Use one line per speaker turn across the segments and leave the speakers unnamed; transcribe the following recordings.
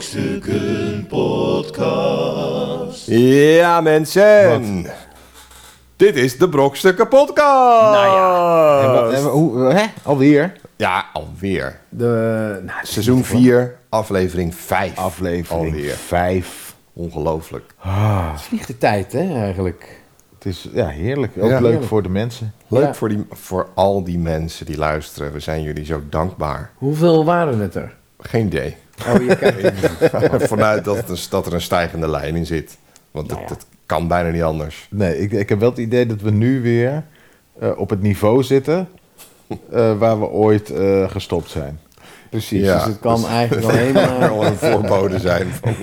Brokstukken Podcast.
Ja, mensen. Dit is de Brokstukken Podcast.
Nou ja.
ja.
Hoe, hè? Alweer?
alweer.
De nou,
Seizoen 4, aflevering 5.
aflevering
Alweer.
5.
Ongelooflijk.
Ah,
Het vliegt de tijd, hè, eigenlijk.
het is ja, heerlijk. Ook
Ja.
leuk
Heerlijk.
voor de mensen.
Leuk
Ja.
voor, die, voor al die mensen die luisteren. We zijn jullie zo dankbaar.
Hoeveel waren het er?
Geen idee.
Oh, je kijkt.
Vanuit dat, er- dat er een stijgende lijn in zit. Want dat,
Nou ja.
dat kan bijna niet anders.
Nee, ik, ik heb wel het idee dat we nu weer eh, op het niveau zitten eh, waar we ooit eh, gestopt zijn.
Precies,
Ja,
dus het kan
dat-
eigenlijk alleen maar...
Al een voorbode zijn van...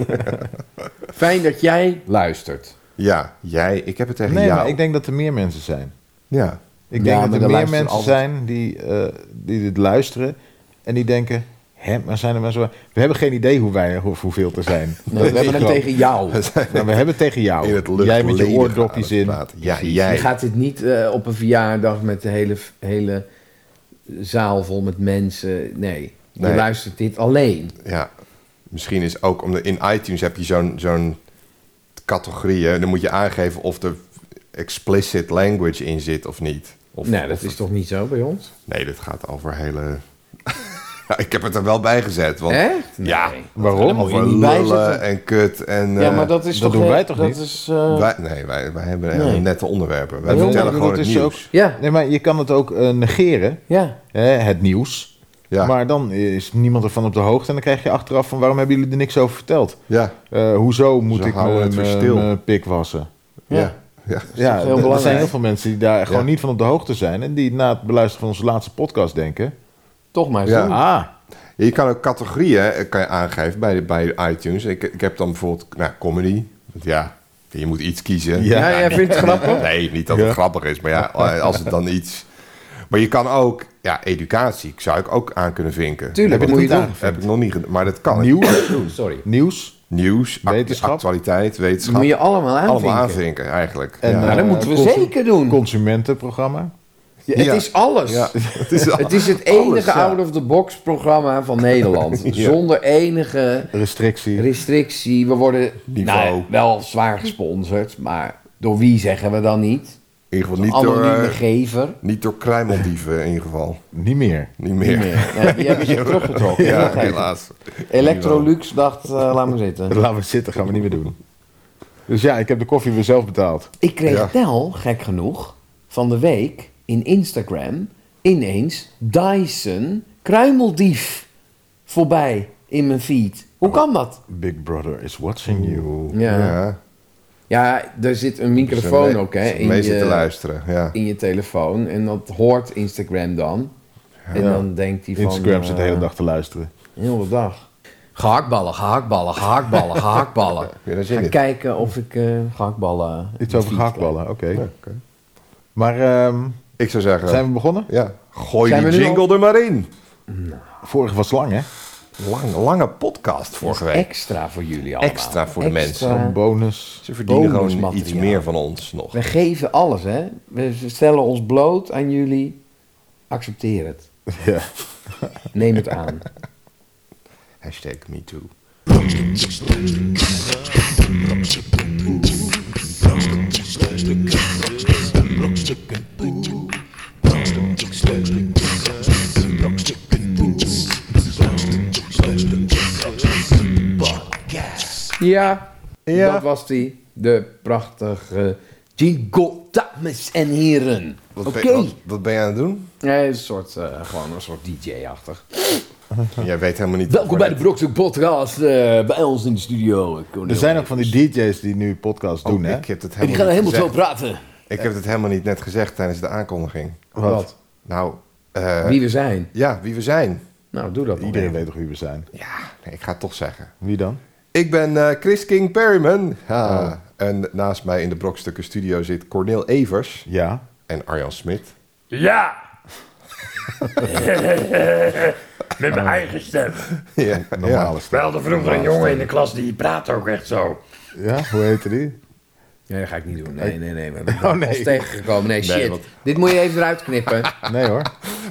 Fijn dat jij luistert.
Ja, jij. Ik heb het tegen
Nee,
jou.
maar ik denk dat er meer mensen zijn.
Ja.
Ik
Ja,
denk
maar
dat
er
er meer
luisteren
mensen
altijd-
zijn die, eh, die dit luisteren en die denken... Hè, maar zijn er maar zo... We hebben geen idee hoe wij, hoe, hoeveel er zijn.
Nee, we hebben hem
gewoon-
tegen jou.
Nou, we hebben tegen
Oh,
jou.
In het lucht
Jij met je
leden
oordopjes
aan het
in.
praten. Ja,
Precies.
jij.
Je gaat dit niet eh, op een verjaardag met de hele, hele zaal vol met mensen. Nee, je
Nee.
luistert dit alleen.
Ja, misschien is ook omdat in iTunes heb je zo'n zo'n categorie. hè, Dan moet je aangeven of er explicit language in zit of niet. Of,
nee, dat
of-
is toch niet zo bij ons?
Nee, dit gaat over hele. Ik heb het er wel bij gezet. Want,
Echt? Nee.
Ja.
Waarom?
Moet je
Over
niet bij
lullen
zitten?
en kut en.
ja,
eh,
maar dat is
dat
toch...
doen
eh,
wij toch niet?
Dat is... eh,
wij- nee, wij, wij hebben hele
Nee.
nette onderwerpen. Wij
Nee,
vertellen
maar
gewoon
dat
het
is ook-
nieuws.
Ja,
Nee, maar je kan het ook eh, negeren,
ja.
hè, het nieuws.
Ja,
Maar dan is niemand ervan op de hoogte en dan krijg je achteraf van waarom hebben jullie er niks over verteld?
ja,
Eh, hoezo moet
Ze
ik
houden het weer stil.
mijn pik wassen?
ja.
Ja.
ja.
Ja, er-
heel
er zijn
belangrijk?
heel veel mensen die daar gewoon
Ja.
niet van op de hoogte zijn en die na het beluisteren van onze laatste podcast denken:
Toch maar
Ja.
zo.
Ah,
Je kan ook categorieën eh, kan je aangeven bij, bij iTunes. Ik, ik heb dan bijvoorbeeld nou, comedy. Want ja, je moet iets kiezen. Nou,
Ja.
Ja, jij vindt het grappig?
Nee, niet dat het
Ja.
grappig is, maar ja, eh, als het dan iets. Maar je kan ook, ja, educatie zou ik ook aan kunnen vinken.
Tuurlijk,
heb
moet
ik
je
nog
doen.
niet Heb ik nog niet gedaan, maar dat kan.
nieuws,
Sorry.
nieuws
Nieuws, act-
Wetenschap.
actualiteit,
Dat
wetenschap.
moet je allemaal aanvinken.
allemaal aanvinken eigenlijk.
En,
ja.
Nou, dat
eh,
moeten we
consu-
zeker doen.
consumentenprogramma.
Ja, het
Ja.
is alles.
Ja, het is, al-
Het is het enige
Alles, ja.
out-of-the-box programma van Nederland. Zonder enige
Restrictie.
restrictie. We worden
Niveau.
nou, wel zwaar gesponsord, maar door wie zeggen we dan niet?
in ieder geval niet door,
Anonieme
eh,
gever.
niet door kruimeldieven in ieder geval.
Niet meer.
Niet
Niet
meer.
meer. Nee, die hebben ze teruggetrokken.
Ja,
Heel gek.
helaas.
Electrolux dacht, eh, laat maar zitten.
Laten we zitten, gaan we niet meer doen. Dus ja, ik heb de koffie weer zelf betaald.
Ik kreeg
Ja.
wel, gek genoeg, van de week in Instagram ineens Dyson kruimeldief voorbij in mijn feed. Hoe
Oh.
kan dat?
Big Brother is watching you.
Ja.
Ja.
Ja, er zit een
Ze
microfoon
mee-
ook hè,
ze
in,
Mee zitten
je,
luisteren, ja.
in je telefoon. En dat hoort Instagram dan. En dan denkt hij van...
Instagram zit de
eh,
hele dag te luisteren.
heel de dag. Gehaktballen, gehaktballen, gehaktballen, gehaktballen.
Ja, daar zit
Ga
het.
kijken of ik eh gehaktballen...
Iets over gehaktballen, oké.
Oké.
Maar ehm,
Ik zou zeggen,
zijn we begonnen?
ja, gooi
Zijn we
die
nu
jingle er maar in.
Vorige was lang, hè?
Lang, lange podcast vorige week.
Extra voor jullie allemaal.
Extra voor de
Extra.
mensen.
Een bonus.
Ze verdienen gewoon
Bonusmateriaal.
iets meer van ons nog.
We geven alles, hè. We stellen ons bloot aan jullie. Accepteer het.
Ja.
Neem het aan.
Hashtag MeToo.
Ja,
Ja.
dat was die. De prachtige jingle, dames en heren.
Wat,
Oké.
ben, wat, wat ben je aan het doen?
Nee, een soort, eh, gewoon een soort DJ-achtig.
Jij weet helemaal niet...
Welkom bij de Brokstuk Podcast, eh, bij ons in de studio. eh, Cornel.
Er zijn ook van die DJ's die nu podcasts doen, hè?
Ik heb het
En die
helemaal,
gaan
niet
helemaal zo
gezegd.
praten.
Ik heb het helemaal niet net gezegd tijdens de aankondiging.
Wat?
Nou, eh,
Wie we zijn.
ja, wie we zijn.
Nou, doe dat dan.
Iedereen weet toch wie we zijn.
Ja, nee, ik ga het toch zeggen.
Wie dan?
Ik ben eh, Chris King Perryman. Ha. En naast mij in de Brokstukken studio zit Cornel Evers
Ja.
en Arjan Smit.
Ja! Met mijn eigen stem.
Ja,
Normale
ja.
We
stem.
hadden vroeger een jongen in de klas die praat ook echt zo.
Ja, hoe heette die?
Nee, dat ga ik niet doen. Nee, nee, nee. We zijn
Oh, nee.
ons tegengekomen. Nee, shit.
want-
Dit moet je even eruit knippen.
Nee hoor.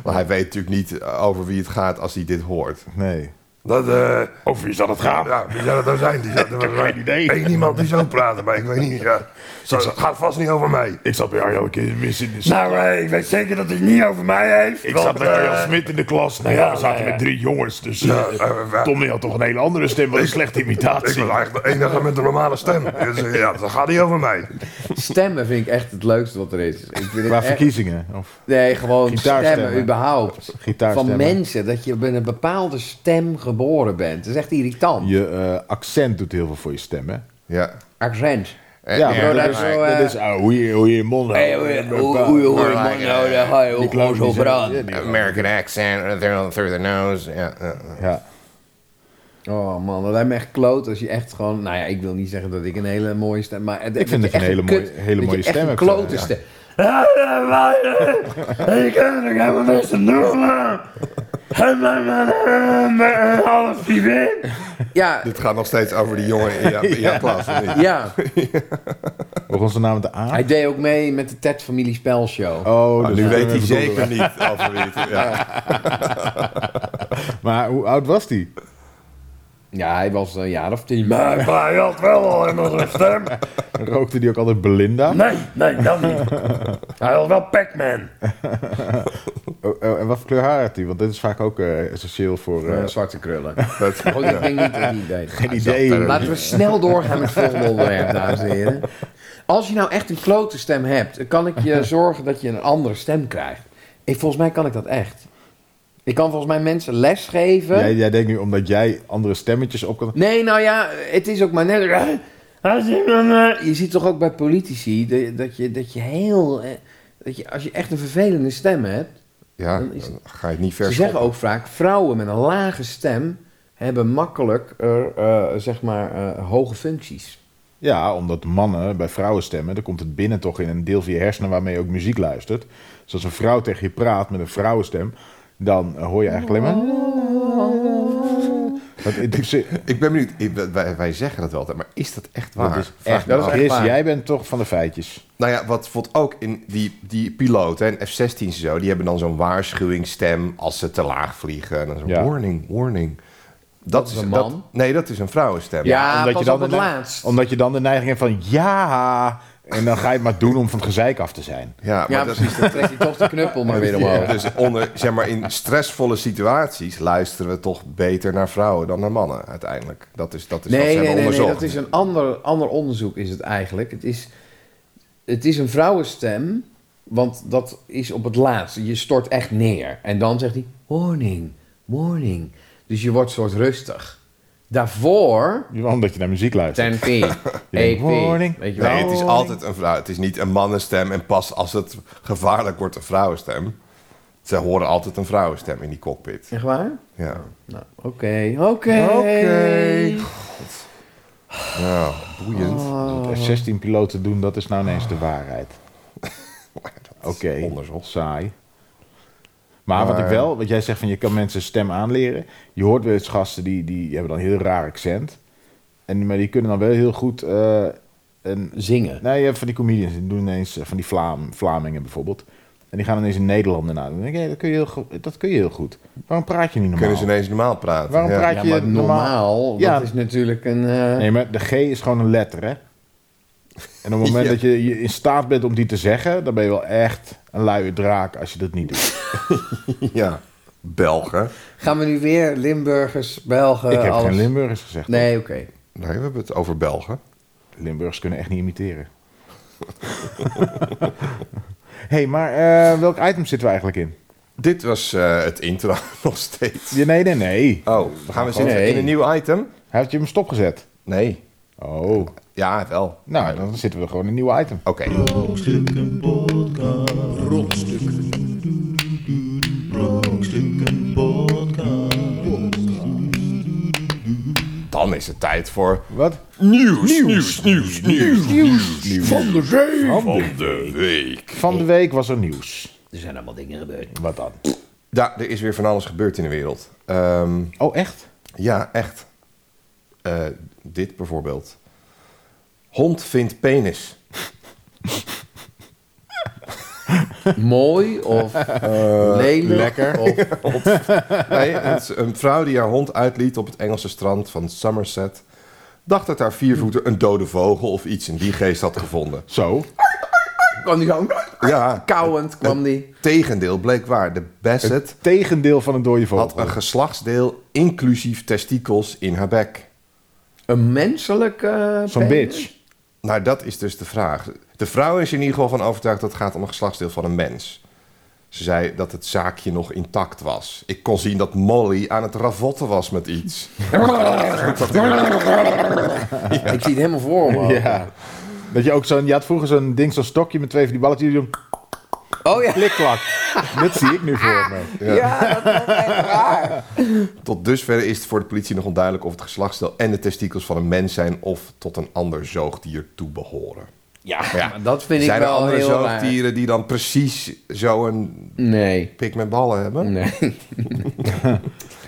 Maar hij weet natuurlijk niet eh, over wie het gaat als hij dit hoort.
Nee.
Dat, eh,
Of wie zal het gaan?
ja, wie zou dat nou zijn? Die zat, ik
heb geen idee.
Eén iemand die zo praat, maar ik weet niet. Ja. Zo, het gaat vast niet over mij.
Ik zat bij Arjo een keer in de
Nou, eh, ik weet zeker dat hij het niet over mij heeft.
Ik
want,
zat bij
eh,
Arjan Smit in de klas. Nou ja,
ja,
we zaten
ja, ja.
met drie jongens. Dus
Ja,
eh,
eh, wij-
Tommy had toch een hele andere stem. Wat een slechte
Ik
imitatie.
ben eigenlijk de enige met een normale stem. Dus, eh, ja, dat gaat niet over mij.
Stemmen vind ik echt het leukste wat er is. Ik vind het
Qua
echt-
verkiezingen. Of,
Nee, gewoon
Gitaarstemmen.
stemmen überhaupt. Van
Gitaarstemmen.
mensen, dat je met een bepaalde stem geboren bent. Dat is echt irritant.
je eh, accent doet heel veel voor je stem, hè?
Ja.
Accent.
En-
Eh, Ja,
en-
maar
dat
dat
is,
is wel,
dat
eh,
is ah, hoe je hoe je mond houdt. eh, Die clown die zegt- ja, die-
American accent, through through the nose. Ja, ja, ja.
Ja.
Oh man, dat lijkt me echt kloot als je echt gewoon... Nou ja, ik wil niet zeggen dat ik een hele mooie stem... Maar
Ik vind dat je een hele mooie- hele mooie
stem
stem
een
hebt, eh,
klote
ja.
stem.
Ja, ja, maar, eh, ik heb er helemaal niks te doen, maar... En mijn, mijn, eh, mijn half vriendin.
Ja,
Dit gaat nog steeds over die jongen in jouw, in jouw klas. of niet?
ja.
Begon zijn naam met de A?
Hij deed ook mee met de Ted Familie Spelshow.
Oh,
Maar
dus
Ah, nu
we
weet
kunnen
hij
we bedoelen.
zeker niet over wie het ja.
Maar hoe oud was hij?
Ja, hij was eh, een jaar of tien.
Maar hij had wel al een andere stem.
Rookte hij ook altijd Belinda?
Nee, nee, dat niet. Hij had wel Pac-Man.
Oh, oh, en wat voor kleur haar had hij? Want dit is vaak ook eh, essentieel voor... eh,
Eh, zwarte krullen.
Dat-
Goed, ik denk niet dat hij het deed.
geen idee.
Laten we snel doorgaan met het volgende onderwerp, dames en heren. Als je nou echt een klote stem hebt, dan kan ik je zorgen dat je een andere stem krijgt. Ik, volgens mij kan ik dat echt. Ik kan volgens mij mensen lesgeven.
Jij, jij denkt nu omdat jij andere stemmetjes op kan...
Nee, nou ja, het is ook maar net... Je ziet toch ook bij politici de- dat je, dat je heel... eh, Dat je, als je echt een vervelende stem hebt...
ja, dan ga je het niet
Ze
ver
zeggen
schoppen.
ook vaak, vrouwen met een lage stem hebben makkelijk er, eh, zeg maar, eh, hoge functies.
Ja, omdat mannen bij vrouwen stemmen, dan komt het binnen toch in een deel van je hersenen waarmee je ook muziek luistert. Dus als een vrouw tegen je praat met een vrouwenstem, dan eh, hoor je eigenlijk alleen maar... Dat, het, is-
Ik ben benieuwd, ik- wij, wij zeggen dat wel altijd, maar is dat echt waar?
dat is,
Echt,
echt, dat
dat is echt
Chris,
waar.
jij bent toch van de feitjes.
Nou ja, wat bijvoorbeeld ook in die, die piloten en F-16's en zo, die hebben dan zo'n waarschuwingsstem als ze te laag vliegen. En dan zo'n
Ja.
warning, warning. Dat,
is een
dat-
man.
nee, dat is een vrouwenstem.
Ja,
omdat,
Ah, pas
je dan
op het
de ne-
laatst.
omdat je dan de neiging hebt van ja, en dan ga je het maar doen om van het gezeik af te zijn.
ja, maar
ja,
dat,
precies. Dan trekt hij toch de knuppel maar weer omhoog.
Dus onder, zeg maar, in stressvolle situaties luisteren we toch beter naar vrouwen dan naar mannen uiteindelijk. Dat is, dat is wat ze
nee,
hebben
nee, nee, nee,
onderzocht.
dat is een ander, ander onderzoek is het eigenlijk. Het is, het is een vrouwenstem, want dat is op het laatste. Je stort echt neer. En dan zegt hij, warning, warning. Dus je wordt soort rustig. Daarvoor,
Omdat je naar muziek luistert.
10 p,
denkt,
8p,
warning.
weet je wel.
Nee, het is altijd een vrouw. Het is niet een mannenstem en pas als het gevaarlijk wordt een vrouwenstem. Ze horen altijd een vrouwenstem in die cockpit.
Echt waar?
Ja.
Nou, oké, oké.
Oké. Nou,
Oh,
boeiend.
F-16 piloten doen, dat is nou ineens de waarheid. Oké,
onderzocht.
saai. Maar wat ik wel, wat jij zegt van je kan mensen stem aanleren. Je hoort wel eens gasten die, die hebben dan een heel raar accent. En, maar die kunnen dan wel heel goed eh, een
Zingen.
nou, je hebt van die comedians, die doen ineens eh, van die Vlaam, Vlamingen bijvoorbeeld. En die gaan ineens een Nederlander na. Dan denk ik, hé, dat, kun je heel go- dat kun je heel goed. Waarom praat je niet normaal?
Kunnen ze ineens normaal praten?
Waarom
ja.
praat
Ja,
je
maar normaal,
Ja.
dat is natuurlijk een... eh,
Nee, maar de G is gewoon een letter, hè? En op het moment
Ja.
dat je, je in staat bent om die te zeggen, dan ben je wel echt een luie draak als je dat niet doet.
Ja, Belgen.
Gaan we nu weer Limburgers, Belgen,
ik heb
Eh, alles?
geen Limburgers gezegd.
Nee, oké.
Nee, we hebben het over Belgen.
Limburgers kunnen echt niet imiteren. hey, maar eh, welk item zitten we eigenlijk in?
Dit was eh, het intro nog steeds.
Ja, nee, nee, nee.
Oh, dan gaan we zitten
Nee.
in een nieuw item?
Hij heeft je hem stopgezet.
Nee.
Oh,
Ja, wel.
nou, dan zitten we er gewoon in een nieuw item.
Oké.
Brokstukken podcast. Brokstukken. Brokstukken podcast.
Dan is het tijd voor
Wat?
de week.
Van de week was er nieuws.
Er zijn allemaal dingen gebeurd.
Wat dan?
Ja, er is weer van alles gebeurd in de wereld. Ehm,
Oh, echt?
ja, echt. Eh, dit bijvoorbeeld. Hond vindt penis.
mooi of eh, lelijk.
lekker.
Of,
Nee, het is een vrouw die haar hond uitliet op het Engelse strand van Somerset... dacht dat haar viervoeter een dode vogel of iets in die geest had gevonden.
Zo.
kwam die gewoon
Ja,
kauwend, kwam die.
tegendeel bleek waar. De Basset
Tegendeel van een dode
had
vogel.
een geslachtsdeel inclusief testikels in haar bek.
Een menselijke... eh,
Zo'n
penis?
bitch.
Nou, dat is dus de vraag. De vrouw is er in ieder geval van overtuigd dat het gaat om een geslachtsdeel van een mens. Ze zei dat het zaakje nog intact was. Ik kon zien dat Molly aan het ravotten was met iets.
Ik zie het helemaal voor me.
Ja. Dat je ook zo'n... Je had vroeger zo'n ding, zo'n stokje met twee van die balletjes. die doen
Oh ja.
Klik-klak. dat zie ik nu voor me.
Ja, dat was echt raar.
Tot dusver is het voor de politie nog onduidelijk of het geslachtsdeel en de testikels van een mens zijn of tot een ander zoogdier toe behoren.
Ja,
Ja.
maar dat vind
zijn
ik
er
wel
andere
heel raar.
zoogdieren die dan precies zo'n
Nee.
pik met ballen hebben?
Mm.
Nee,
Ah.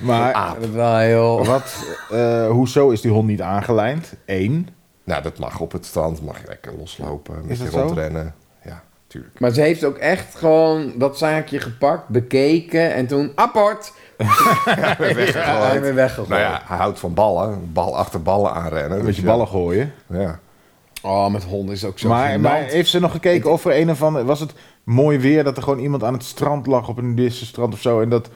Maar
dat is wel heel...
wat... eh, hoezo is die hond niet aangelijnd? Eén.
Nou, dat mag op het strand, mag je lekker loslopen, met
Is
je
dat zo?
rondrennen. Ja, tuurlijk.
Maar ze heeft ook echt gewoon dat zaakje gepakt, bekeken en toen... Apport!
Weggegooid.
Hij weer weggegooid.
Nou ja, hij houdt van ballen. Bal achter ballen aanrennen.
Een
Dus
beetje
ja.
ballen gooien.
Ja.
Oh, met honden is het ook zo
Maar, maar
gênant.
heeft ze nog gekeken of er een of andere... Was het mooi weer dat er gewoon iemand aan het strand lag op een nudistische strand of zo? En dat...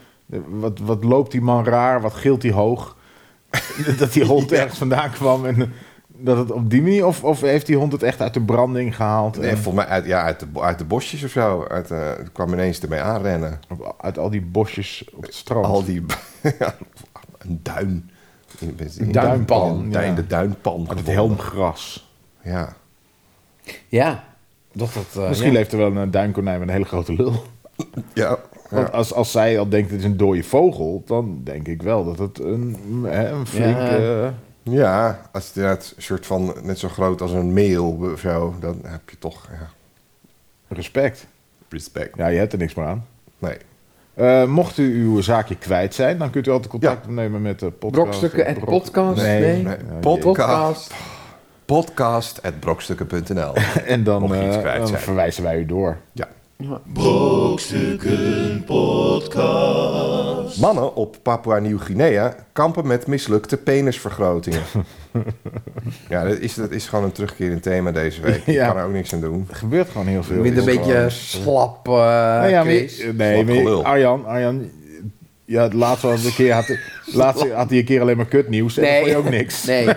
Wat, wat loopt die man raar? Wat gilt die hoog? dat die hond ergens vandaan kwam en... eh, Dat het op die manier... Of, of heeft die hond het echt uit de branding gehaald?
Nee,
en-
volgens mij uit, ja, uit, de, bo- uit de bosjes of zo. Uit, eh, het kwam ineens ermee aanrennen.
Op- uit al die bosjes op het strand.
Al die... ja, een duin. In, in- in-
duinpan,
in- in
ja.
de duinpan.
uit het
gevonden.
helmgras.
Ja.
Ja, dat dat... eh,
Misschien
ja.
leeft er wel een duinkonijn met een hele grote lul.
Ja.
Want als, als zij al denkt het is een dode vogel, dan denk ik wel dat het een, hè, een flink...
Ja.
eh,
Ja, als het inderdaad een soort van net zo groot als een meel of zo, dan heb je toch ja,
respect.
respect.
Ja, je hebt er niks meer aan.
Nee.
Eh, mocht u uw zaakje kwijt zijn, dan kunt u altijd contact opnemen met de podcast. eh,
Brokstukken en
Brok-
podcast?
Nee,
Nee.
nee.
Ja,
Podcast. Podcast at brokstukken.nl.
En dan,
Mocht je iets
eh,
kwijt
dan
zijn.
verwijzen wij u door.
Ja.
Brokstukken Podcast.
Mannen op Papua-Nieuw-Guinea kampen met mislukte penisvergrotingen. ja, dat is, dat is gewoon een terugkerend thema deze week. Ik
Ja.
kan er ook niks aan doen.
Er gebeurt gewoon heel
Ik
veel.
vind het een
Is gewoon-
beetje slap, eh
Nou ja, maar,
Chris.
je- nee, maar je-
gelul.
Arjan, Arjan, ja, het laatste was een keer had, hij- laatst had hij een keer alleen maar kutnieuws en
Nee.
dan vond je ook niks.
Nee,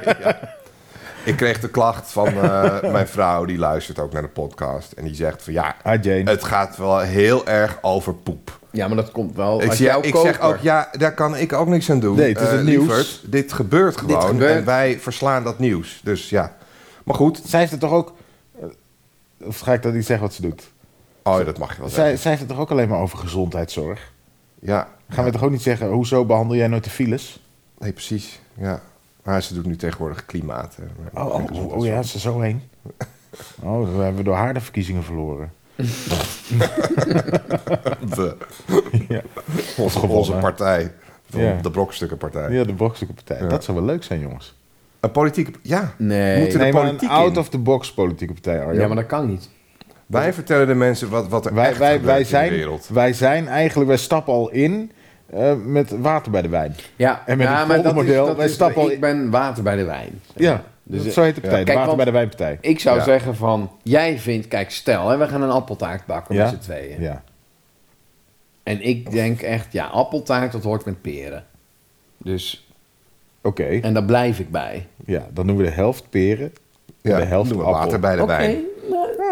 Ik kreeg de klacht van eh, mijn vrouw, die luistert ook naar de podcast. En die zegt van ja,
Ah, Jane.
het gaat wel heel erg over poep.
ja, maar dat komt
Oh,
wel.
Ik,
uit
zie-
jouw
ik zeg
koker.
ook, ja, daar kan ik ook niks aan doen.
Nee, het is
Eh,
het nieuws.
lieverd, dit gebeurt gewoon
gebeurt.
en wij verslaan dat nieuws. Dus ja, maar goed.
Zij heeft het toch ook... eh, Of ga ik dat niet zeggen wat ze doet?
Oh, ja, dat mag je wel
Zij,
zeggen.
zij heeft het toch ook alleen maar over gezondheidszorg?
Ja,
Gaan we toch ook niet zeggen, hoezo behandel jij nooit de files?
nee, precies. Ja. Maar ze doet nu tegenwoordig klimaat. hè.
Oh, oh, oh, oh ja, ze is zo heen. Oh, dan hebben we door haar de verkiezingen verloren.
We.
Ja,
Onze, onze partij. Van
Ja.
De brokstukken
ja de Brokstukenpartij. Dat zou wel leuk zijn, jongens.
Een politieke... Ja,
Nee.
moeten de
Nee, maar
politiek
een
in.
out-of-the-box politieke partij, Arjan.
Ja, maar dat kan niet.
Wij vertellen de mensen wat, wat er
Wij,
echt
wij,
gebeurt
wij,
in de
zijn,
wereld.
wij zijn eigenlijk, wij stappen al in eh, met water bij de wijn.
Ja,
En met
ja
het
maar dat
volgende model,
is, dat
wij
is-
stappen al
ik
in-
ben water bij de wijn.
Ja, dus, zo heet de partij, de
Kijk,
Water
want-
bij de Wijnpartij.
Ik zou
Ja.
zeggen van, jij vindt, kijk stel, hè, we gaan een appeltaart bakken
ja?
met z'n tweeën.
Ja.
En ik denk echt, ja, appeltaart, dat hoort met peren. Dus,
Oké,
en daar blijf ik bij.
ja, dan doen we de helft peren,
Ja,
de helft
doen we
appel.
water bij de
Oké.
wijn.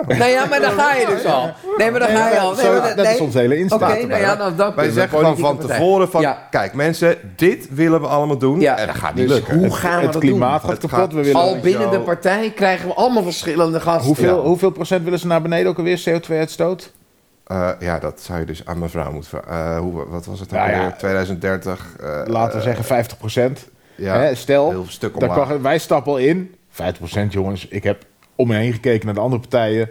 Nee, ja, maar daar ga je dus al. Nee, maar daar ga je al. Nee,
Zo,
maar
dat is ons hele
Oké,
instaat erbij.
nou ja, dan dat
Wij
kunnen we,
zeggen gewoon van
politieke partij.
tevoren van...
Ja,
Kijk mensen, dit willen we allemaal doen.
ja.
En dat gaat niet
dus
lukken.
hoe gaan we
het
dat
klimaat
doen?
gaat
Het
kapot.
gaat-
we willen
Al binnen
Zo.
de partij krijgen we allemaal verschillende gasten.
hoeveel,
Ja.
hoeveel procent willen ze naar beneden ook alweer CO2-uitstoot?
Eh, ja, dat zou je dus aan mijn vrouw moeten vragen. Eh, hoe, wat was het dan
Nou ja,
weer? 2030? eh,
Laten we zeggen 50 procent.
ja,
Hè,
heel
stel,
stuk
daar
omlaag.
kan- wij stappen al in. 50 procent jongens, ik heb om me heen gekeken naar de andere partijen.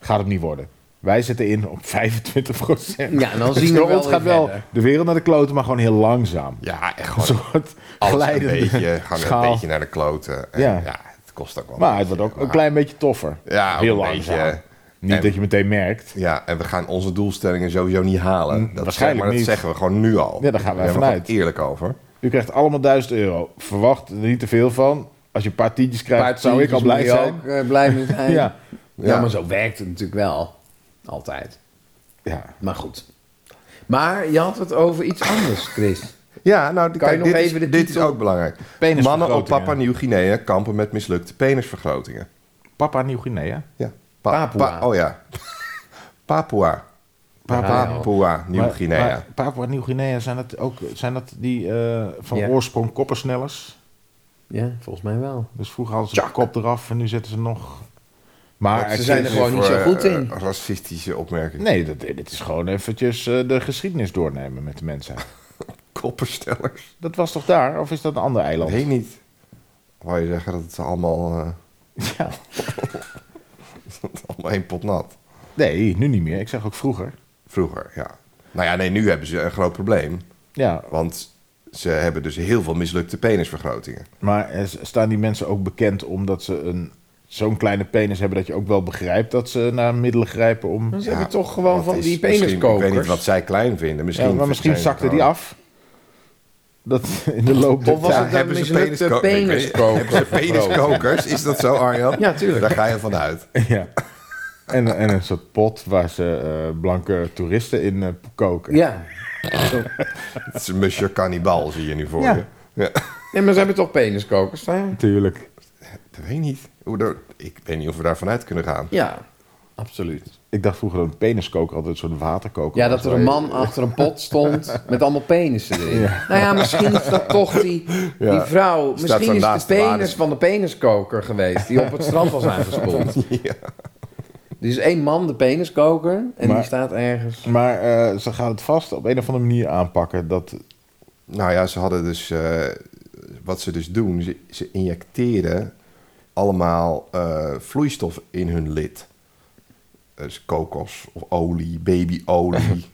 Gaat het niet worden. Wij zetten in op 25 procent.
Ja, en dan zien we
Voor
wel
ons
weer
gaat wel
verder.
de wereld naar de kloten, maar gewoon heel langzaam.
Ja, echt
Een
gewoon
soort
alles een
glijdende
beetje, gaan
schaal.
een beetje naar de kloten. En ja.
Ja.
het kost ook wel.
Maar het wordt ook een klein beetje toffer.
Ja, ook
heel
een
langzaam.
beetje. eh,
Niet
En-
dat je meteen merkt.
Ja, en we gaan onze doelstellingen sowieso niet halen. Dat, zeg-
Mm, waarschijnlijk
maar dat
niet.
zeggen we gewoon nu al.
Ja, daar gaan we
we
vanuit.
gewoon eerlijk over.
U krijgt allemaal 1000 euro. Verwacht er niet te veel van. Als je een paar tientjes krijgt, zou ik al blij
Moet je
zijn.
ook, eh, blij mee zijn.
Ja.
Ja, maar zo werkt het natuurlijk wel. Altijd.
Ja.
Maar goed. Maar je had het over iets anders, Chris.
Ja, nou, kijk,
Kan je nog
dit,
even
is,
de
dit is
titel-
ook belangrijk.
Penisvergrotingen.
Mannen op Papua Nieuw-Guinea kampen met mislukte penisvergrotingen.
Papa Nieuw-Guinea.
Ja.
Papua.
oh ja. Papua.
Papua.
Papua
Maar-
Nieuw-Guinea.
maar Papua Nieuw-Guinea, zijn dat ook zijn dat die eh, van
Ja.
oorsprong koppersnellers?
Ja, volgens mij wel.
Dus vroeger hadden ze de kop eraf en nu zetten ze nog... Maar
Ze
het
zijn
is-
er gewoon niet zo
Voor,
goed
eh,
in.
racistische opmerkingen.
Nee, dat, dit is gewoon eventjes eh, de geschiedenis doornemen met de mensheid.
Kopperstellers.
Dat was toch daar? Of is dat een ander eiland?
Weet niet. Wou je zeggen dat het allemaal, eh
Ja.
allemaal één pot nat?
Nee, nu niet meer. Ik zeg ook vroeger.
Vroeger, ja. Nou ja, nee, nu hebben ze een groot probleem.
Ja,
Want ze hebben dus heel veel mislukte penisvergrotingen.
maar eh, s- staan die mensen ook bekend omdat ze een, zo'n kleine penis hebben... dat je ook wel begrijpt dat ze naar middelen grijpen om...
Ze
Ja,
hebben toch gewoon
wat
van
is-
die
misschien- Ik weet niet
peniskokers.
wat zij klein vinden. Misschien,
Ja, maar misschien
zijn-
zakte die af. Dat in de loop der
Of was
tijd.
het dan
hebben ze
mislukte
penisko-
peniskokers?
Hebben ze peniskokers? Is dat zo, Arjan?
Ja, tuurlijk.
Daar ga je vanuit.
Ja. En, en een soort pot waar ze eh, blanke toeristen in eh, koken.
Ja.
Het is een Monsieur Cannibal, zie je nu voor
Ja.
je. Ja.
Nee, maar ze hebben toch peniskokers? Hè?
Natuurlijk.
Dat weet ik niet. Hoe dat- ik weet niet of we daar vanuit kunnen gaan.
Ja, absoluut.
Ik dacht vroeger dat een peniskoker altijd een soort waterkoker
Ja,
was,
dat er een
waar je-
man achter een pot stond met allemaal penissen erin. Nou ja, misschien is dat toch die, die
Ja.
vrouw.
Staat zo
Misschien is de
naast de
penis
basis.
van de peniskoker geweest die op het strand was aangespoeld. Er is één man, de peniskoker, en
Maar-
die staat ergens.
Maar eh, ze gaan het vast op een of andere manier aanpakken. Dat,
Nou ja, ze hadden dus... eh, wat ze dus doen, ze, ze injecteren allemaal eh, vloeistof in hun lid. Dus kokos of olie, babyolie,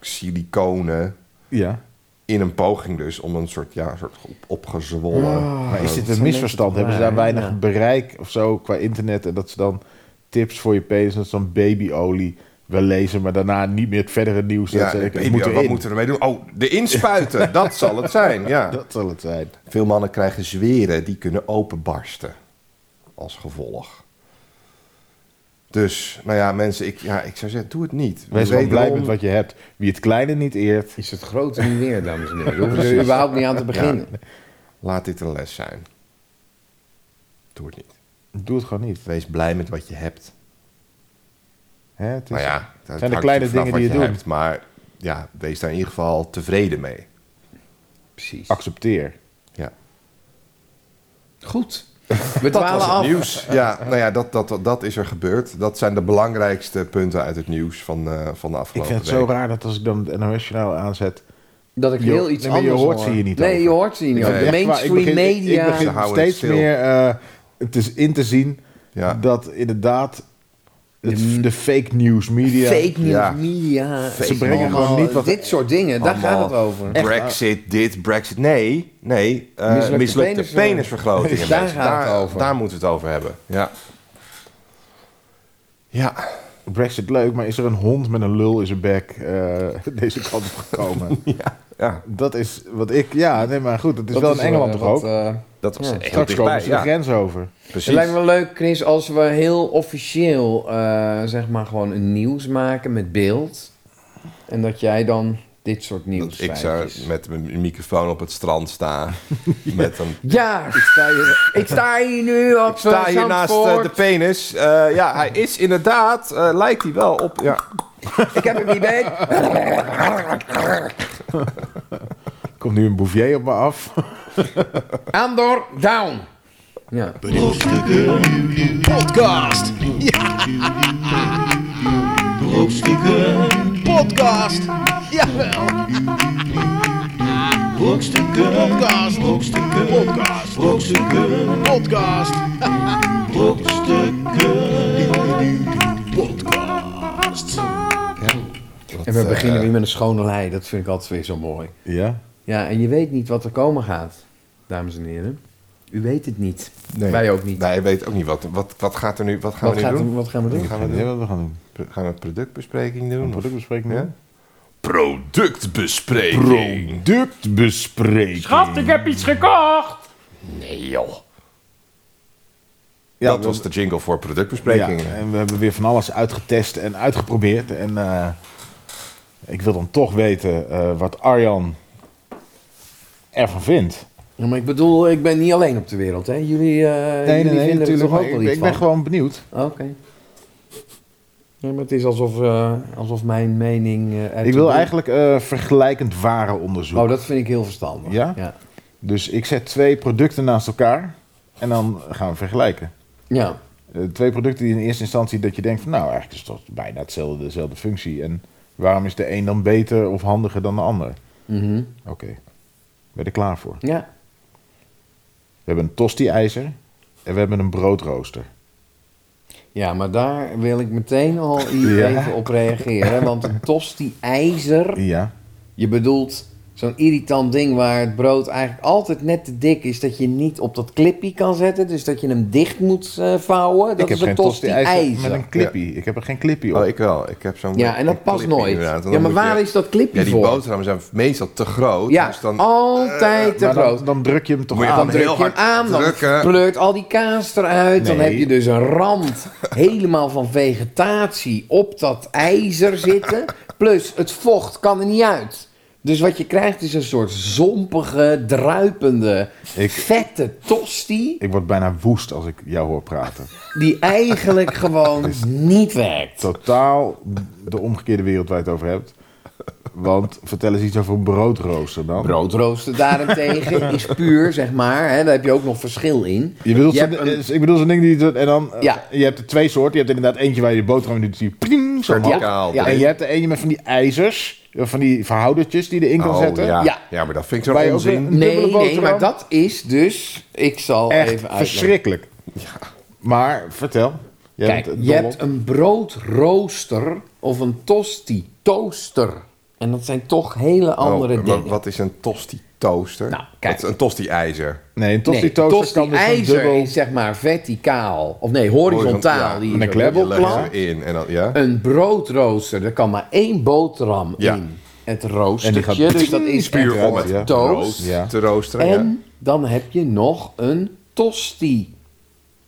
siliconen.
ja.
In een poging dus om een soort, ja, soort op, opgezwollen...
maar Ah,
Oh,
is dit
dat
een misverstand?
is
Hebben ze daar
waar,
weinig
ja.
bereik of zo qua internet? En dat ze dan tips voor je penis, dat ze dan babyolie wel lezen, maar daarna niet meer het verdere nieuws. dat ze,
de
denken, het
baby,
moet
wat
erin.
moeten we ermee doen? Oh, de inspuiten, dat zal het zijn, ja.
Dat zal het zijn.
Veel mannen krijgen zweren die kunnen openbarsten als gevolg. Dus, nou ja, mensen, ik, ja, ik zou zeggen, doe het niet.
Wees wel blij
Wederom-
met wat je hebt. Wie het kleine niet eert.
Is het grote niet weer, dames en heren. Daar hoeven ze überhaupt niet aan te beginnen.
Laat dit een les zijn. Doe het niet.
Doe het gewoon niet.
Wees blij met wat je hebt.
Hè, Dus het is-
Nou ja, dat
zijn de
hangt
kleine
er vanaf
dingen die
wat
je doet.
Hebt, maar ja, wees daar in ieder geval tevreden mee.
Precies.
Accepteer.
Ja.
Goed. We dwalen
Het
af.
nieuws. Ja, nou ja, dat, dat, dat is er gebeurd. Dat zijn de belangrijkste punten uit het nieuws van, eh, van de
Ik
afgelopen
vind het
week.
zo raar dat als ik dan het NOS-journaal aanzet...
Dat ik
Je-
heel iets
nee, maar je
anders
hoort ze
hoor.
hier niet
Nee,
over.
je hoort ze hier niet
Nee.
over. De
Echt waar,
mainstream
ik begin,
media.
Ik begin
Ze houden
steeds
het stil.
meer eh, het is in te zien
Ja.
dat inderdaad het, de fake news media...
Fake news,
Ja.
media.
Ze brengen
allemaal
gewoon niet wat-
Dit soort dingen, daar
Allemaal
gaat het over.
Brexit, dit, Brexit. Nee, nee. eh,
Mislukte
mislukte,
penis-
penisvergroting.
Dus daar
mensen.
gaat het
daar,
over.
daar moeten we het over hebben. Ja. Ja,
Brexit leuk, maar is er een hond met een lul in zijn bek eh, deze kant op gekomen?
ja.
dat is wat ik... Ja, nee, maar goed, het is
Dat
wel in Engeland
eh,
toch
wat,
ook?
eh,
dat was
Ja,
heel
Straks komen
dichtbij.
ze de
Ja,
grens over.
het
precies.
lijkt me wel leuk, Chris, als we heel officieel eh, zeg maar gewoon een nieuws maken met beeld. En dat jij dan dit soort nieuws
Dat ik zou met mijn microfoon op het strand staan. Met een...
Ja, ik sta hier, ik sta hier nu op
Ik sta hier naast eh,
Zandvoort.
de penis. Eh, ja, hij is inderdaad, eh, lijkt hij wel op... Ja.
Ik heb hem niet bij.
Er komt nu een bouvier op me af.
Andor, down. Ja.
Brokstukken
Podcast.
Brokstukken
Podcast. Jawel.
Brokstukken
Podcast.
Brokstukken
Podcast.
Brokstukken
Podcast.
Brokstukken Podcast
En we
eh,
beginnen weer met een schone lei. Dat vind ik altijd weer zo mooi.
Ja?
Ja, en je weet niet wat er komen gaat, dames en heren. U weet het niet.
Nee.
Wij ook niet.
Nee, ik weet ook niet wat. Wat, wat gaat er nu? Wat gaan
Wat,
we nu
gaat
doen?
er- wat gaan we doen?
Gaan
Gaan
we
we
doen?
wat we gaan doen?
Pro- Gaan we productbespreking doen?
Een
of-
productbespreking?
Ja?
Ja?
Productbespreking.
Productbespreking.
Gast, ik heb iets gekocht!
Nee, joh.
Ja,
dat
we-
was de jingle voor
ja,
productbesprekingen.
en we hebben weer van alles uitgetest en uitgeprobeerd. En eh, ik wil dan toch weten eh, wat Arjan ervan vindt.
Ja, maar ik bedoel, ik ben niet alleen op de wereld, hè? Jullie, eh, jullie vinden er toch
maar
ook wel
ik,
iets
ik ben
van?
gewoon benieuwd.
Oké. Nee, maar het is alsof, eh, alsof mijn mening... eh, ertoe
Ik wil
doet.
eigenlijk eh, vergelijkend ware onderzoek.
Oh, dat vind ik heel verstandig.
Ja?
Ja.
Dus ik zet twee producten naast elkaar en dan gaan we vergelijken.
ja.
Eh, twee producten die in eerste instantie dat je denkt van nou eigenlijk is het toch bijna hetzelfde, dezelfde functie. En waarom is de een dan beter of handiger dan de ander?
Mhm.
Oké, ben je er klaar voor?
ja.
We hebben een tosti-ijzer en we hebben een broodrooster.
Ja, maar daar wil ik meteen al hier
Ja.
even op reageren. Want een tosti-ijzer...
Ja,
Je bedoelt zo'n irritant ding waar het brood eigenlijk altijd net te dik is... dat je niet op dat clipje kan zetten. Dus dat je hem dicht moet eh, vouwen. Dat
ik heb
is een
geen tosti-ijzer
tosti-ijzer.
met een clippie. Ik heb er geen clippie op.
Oh, ik wel. Ik heb zo'n.
Ja, en dat
een
past
clipje
nooit.
inderdaad. En dan
Ja, maar
moet
waar
je-
is dat clipje
Ja, die
voor?
boterhammen zijn meestal te groot.
Ja,
dus dan
altijd te
Eh, maar
groot.
dan, dan druk je hem toch
Moet je
aan.
dan
Dan druk
heel
je hem
hard
aan, dan
drukken.
pleurt al die kaas eruit. Dan
Nee.
heb je dus een rand helemaal van vegetatie op dat ijzer zitten. Plus het vocht kan er niet uit. Dus wat je krijgt is een soort zompige, druipende,
Ik-
vette tosti.
Ik word bijna woest als ik jou hoor praten.
Die eigenlijk gewoon niet werkt.
Totaal de omgekeerde wereld waar je het over hebt. Want vertel eens iets over een broodrooster dan.
Broodrooster daarentegen is puur, zeg maar. Hè, daar heb je ook nog verschil in.
Je bedoelt
Je
zo'n-
hebt een-
eh, Ik bedoel zo'n ding die... je doet En dan, eh,
Ja.
Je hebt er twee soorten. Je hebt inderdaad eentje waar je de boterham in doet. Die pling, zo omhoog.
Verticaal.
Ja.
En je hebt er eentje met van die ijzers. Van die verhoudertjes die je erin kan
Oh,
zetten.
Ja.
Ja.
Ja. maar dat vind ik
Waar
zo'n
je ook
onzin.
weer- Een dubbele
Nee, nee,
boterham.
maar dat is dus... Ik zal even
Echt
uitleggen.
verschrikkelijk. Maar vertel. Jij
Kijk,
bent, eh,
je
dol
hebt
op.
een broodrooster of een tosti toaster. En dat zijn toch hele andere
Oh, maar
dingen.
Wat is een tosti toaster?
Nou, kijk.
Wat is een tosti ijzer.
Nee, een tosti
nee,
toaster kan dus een
tosti-ijzer
dubbel...
is zeg maar verticaal. Of nee, horizontaal. Die
Met een klep
Je
op
legt
klap.
hem in en dan ja.
Een broodrooster, daar kan maar één boterham
Ja.
in. Het
En die
roostertje,
gaat
dus dat is
Puur
echt
om het
ja.
toast.
Ja.
te roosteren. ja.
En dan heb je nog een tosti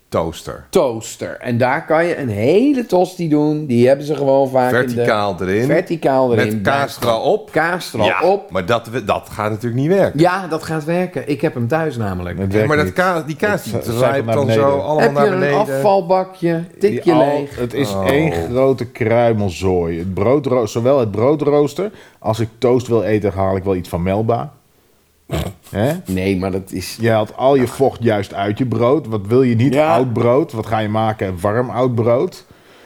Toaster.
toaster. En daar kan je een hele tosti doen. Die hebben ze gewoon vaak
Verticaal
in de,
erin.
verticaal erin.
Met kaas erop.
Kaas er al
Ja,
op.
Maar dat, we- dat gaat natuurlijk niet werken.
Ja, dat gaat werken. Ik heb hem thuis namelijk.
Het
Ja,
werkt
maar dat
niet.
kaas, die kaas die
Het zijpelt
rijpt
naar
dan
beneden.
zo allemaal
heb
naar
je een
beneden.
afvalbakje, tik
Die
je
al-
leeg.
Het is één grote kruimelzooi. Het broodro- zowel het broodrooster, als ik toast wil eten, haal ik wel iets van Melba. Hè?
Nee, maar dat is...
Je haalt al je vocht juist uit je brood. Wat wil je niet?
Ja.
Oud brood. Wat ga je maken? Warm oud brood.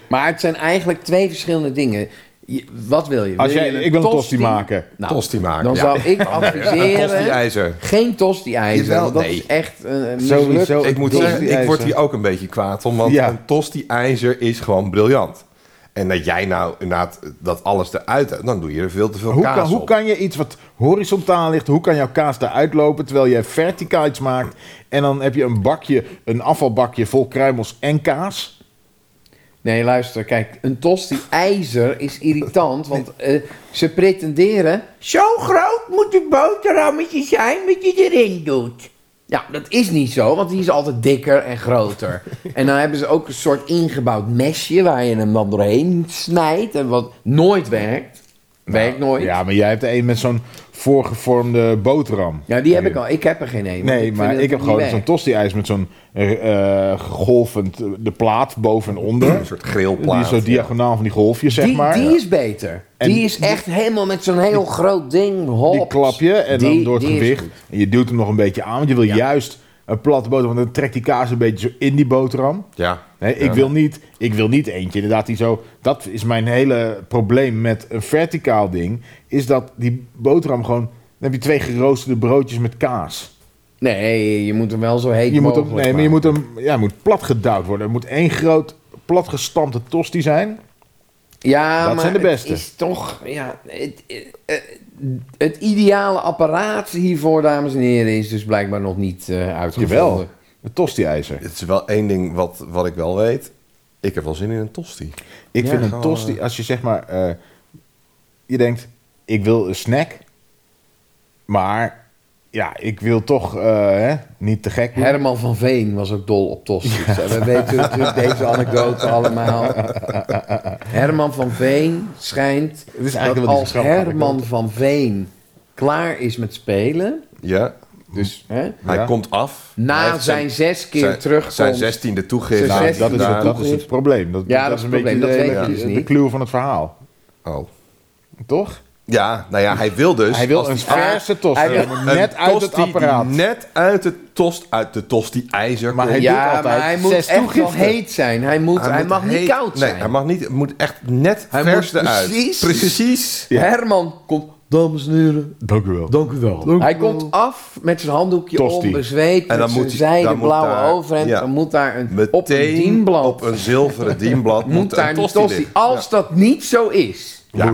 Maar het zijn eigenlijk twee verschillende dingen. Je- wat wil je?
Als jij-
je
ik wil een tosti maken.
Nou,
Tosti maken,
Dan
ja.
zou ik
Een
adviseren...
tosti-ijzer.
Geen tosti-ijzer.
Jawel,
want dat
nee.
is echt een, een
Sowieso.
mislukt-
Ik moet
Tosti
zeggen, ik
ijzer.
word hier ook een beetje kwaad om. Want
Ja.
een tosti-ijzer is gewoon briljant. En dat jij nou inderdaad dat alles eruit hebt, dan doe je er veel te veel
Hoe
kaas
kan, hoe
op.
kan je iets wat horizontaal ligt, hoe kan jouw kaas daaruit lopen terwijl jij verticaal iets maakt en dan heb je een bakje, een afvalbakje vol kruimels en kaas?
Nee, luister, kijk, een tosti-ijzer is irritant, want eh, ze pretenderen... Zo groot moet het boterhammetje zijn wat je erin doet. Ja, dat is niet zo, want die is altijd dikker en groter. en dan hebben ze ook een soort ingebouwd mesje waar je hem dan doorheen snijdt en wat nooit werkt. werkt nooit. Ja,
Ja, maar jij hebt er een met zo'n voorgevormde boterham.
Nou, die heb ik al. Ik heb er geen een. want
Nee,
vind
maar
dat
ik heb
niet
gewoon
werkt.
zo'n tosti-ijs met zo'n eh, eh, golvend eh, de plaat boven en onder.
Een soort
Die is
grillplaat.
zo diagonaal van die golfjes, zeg
die,
maar.
die is beter.
En
die is echt helemaal met zo'n heel groot ding. Hops.
Die klap je en
Die-
dan door het
die is
gewicht.
goed.
En je duwt hem nog een beetje aan, want je wil juist een platte boterham. Want dan trekt die kaas een beetje zo in die boterham.
Ja.
Nee,
Ja.
ik, wil niet, ik wil niet eentje inderdaad die zo... Dat is mijn hele probleem met een verticaal ding. Is dat die boterham gewoon... Dan heb je twee geroosterde broodjes met kaas.
Nee, je moet hem wel zo heet
Je moet hem,
mogelijk
nee, maar je
maken.
moet hem ja, hij moet plat gedouwd worden. Er moet één groot platgestampte tosti zijn.
Ja,
Dat
maar
zijn de
het
beste.
is toch... Ja, het, eh, eh, het ideale apparaat hiervoor, dames en heren, is dus blijkbaar nog niet eh uitgevonden.
Jawel, het tosti-ijzer.
Het is wel één ding wat, wat ik wel weet. Ik heb wel zin in een tosti.
Ik
Ja,
vind een
gewoon,
tosti, als je zeg maar, eh, je denkt, ik wil een snack, maar ja, ik wil toch eh, hè, niet te gek doen.
Herman van Veen was ook dol op tosti's. We weten natuurlijk deze anekdote allemaal. Herman van Veen schijnt
Het is
dat
eigenlijk wel
als
grappige
Herman
anekdote.
van Veen klaar is met spelen,
Ja,
Dus
hè,
hij
Ja.
komt af. Hij
na
heeft
zijn zes keer
zijn-
terugkomt,
Zijn zestiende toegift.
Zijn
nou,
zes-
dat, is het,
daar-
dat is het probleem. Dat,
Ja, dat is het probleem. Dat
hele-
weet je dus
de
niet.
clue van het verhaal,
Oh.
toch?
Ja, nou ja, hij wil dus...
Hij wil
als
een
die-
verse tosti,
hij wil
maar net
een
uit
tosti
het apparaat.
die Net uit het tost, uit de tosti-ijzer.
Maar
komt.
hij- doet
ja,
altijd
maar hij moet
zes
echt wel
toegiften.
heet zijn. Hij, moet, hij,
moet
mag
heet-
niet koud zijn.
Nee, hij mag niet. Het moet echt net
Hij
vers
moet
eruit.
precies-
Precies.
Ja.
Herman komt, dames en heren,
Dank u wel.
Dank u wel. hij komt af met zijn handdoekje
Tosti.
om, bezweet,
dan
en met
moet
zijn
hij-
zijde
dan moet
blauwe
daar-
overhemd.
ja.
Dan moet daar een, op een
Meteen
dienblad,
op een zilveren dienblad
moet daar een tosti,
liggen.
Als dat niet zo is,
Ja.
ja,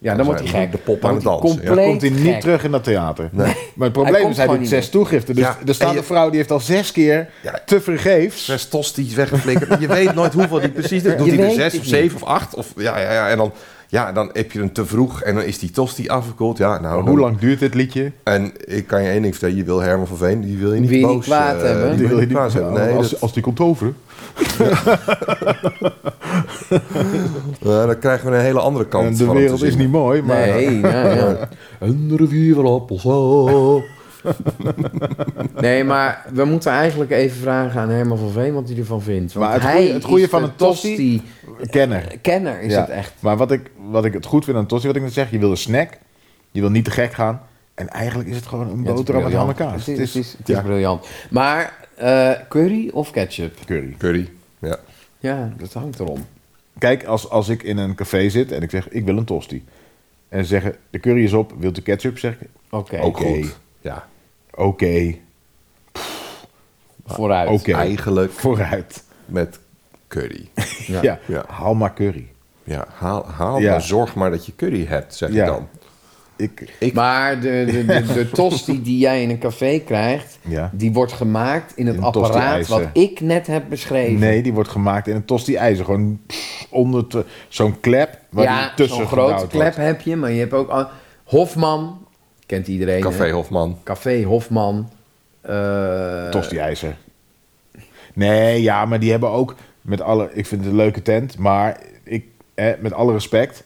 dan,
Dan
wordt hij
zijn
gek.
de pop aan het
Dan wordt
dansen, ja.
hij compleet
Komt hij niet
gek.
terug in dat theater. Maar het probleem
Hij komt
is, hij
gewoon
doet
niet
zes toegiften. Dus
Ja,
er staat
en je-
een vrouw die heeft al zes keer
Ja.
te vergeefs.
Zes tosti's weggeflikkerd. Je weet nooit hoeveel die precies doet. Doet
Je
hij er
weet
zes
het
of
niet.
zeven of acht? Of, ja, ja, ja. En dan, ja, dan heb je hem te vroeg en dan is die tosti afgekoeld. Ja, nou,
Hoe
dan-
lang duurt dit liedje?
En ik kan je één ding vertellen. Je wil Herman van Veen, die wil je niet
Wil je niet
boos,
kwaad
eh,
hebben.
Die wil je niet kwaad hebben. Nee,
Nou, als,
dat-
als die komt over.
eh, dan krijgen we een hele andere kant
En
van
eh,
hem
de
te
wereld is
zien.
niet mooi, maar
Nee, nou ja. Een rivier van appels. oh. nee, maar we moeten eigenlijk even vragen aan Herman van Veen wat hij ervan vindt. Want
Maar het
hij
goeie- het goeie
is
van
de
een tosti- kenner.
Kenner is
Ja.
het echt.
Maar wat ik, wat ik het goed vind aan Tossie, wat ik net zeg, je wil een snack, je wil niet te gek gaan. En eigenlijk is het gewoon een
Ja, het is
boterham met ham en
briljant.
kaas.
Het is, het is, het is
ja.
briljant. Maar eh, curry of ketchup?
curry.
Curry. Ja.
Ja, dat hangt erom.
Kijk, als, als ik in een café zit en ik zeg, ik wil een tosti. En ze zeggen, de curry is op, wilt u ketchup? Zeg ik,
Oké,
Ook
Oké.
goed. Ja.
oké,
vooruit.
oké,
Eigenlijk
vooruit.
met curry.
Ja.
Ja.
Ja.
haal maar curry.
Ja, haal, haal
Ja.
maar zorg maar dat je curry hebt, zeg
Ja.
ik dan.
Ik,
Maar de, de, de, de tosti die jij in een café krijgt,
Ja.
die wordt gemaakt in het
In
apparaat
tosti-ijzer.
wat ik net heb beschreven.
nee, die wordt gemaakt in een tosti-ijzer. Gewoon pff, onder te- zo'n klep waar
ja,
die tussen
zo'n grote
gevouwd
klep
wordt.
heb je, maar je hebt ook... al- Hofman, kent iedereen.
Café
hè?
Hofman.
Café Hofman. eh,
Tosti-ijzer. Nee, ja, maar die hebben ook met alle. Ik vind het een leuke tent, maar ik, eh, met alle respect,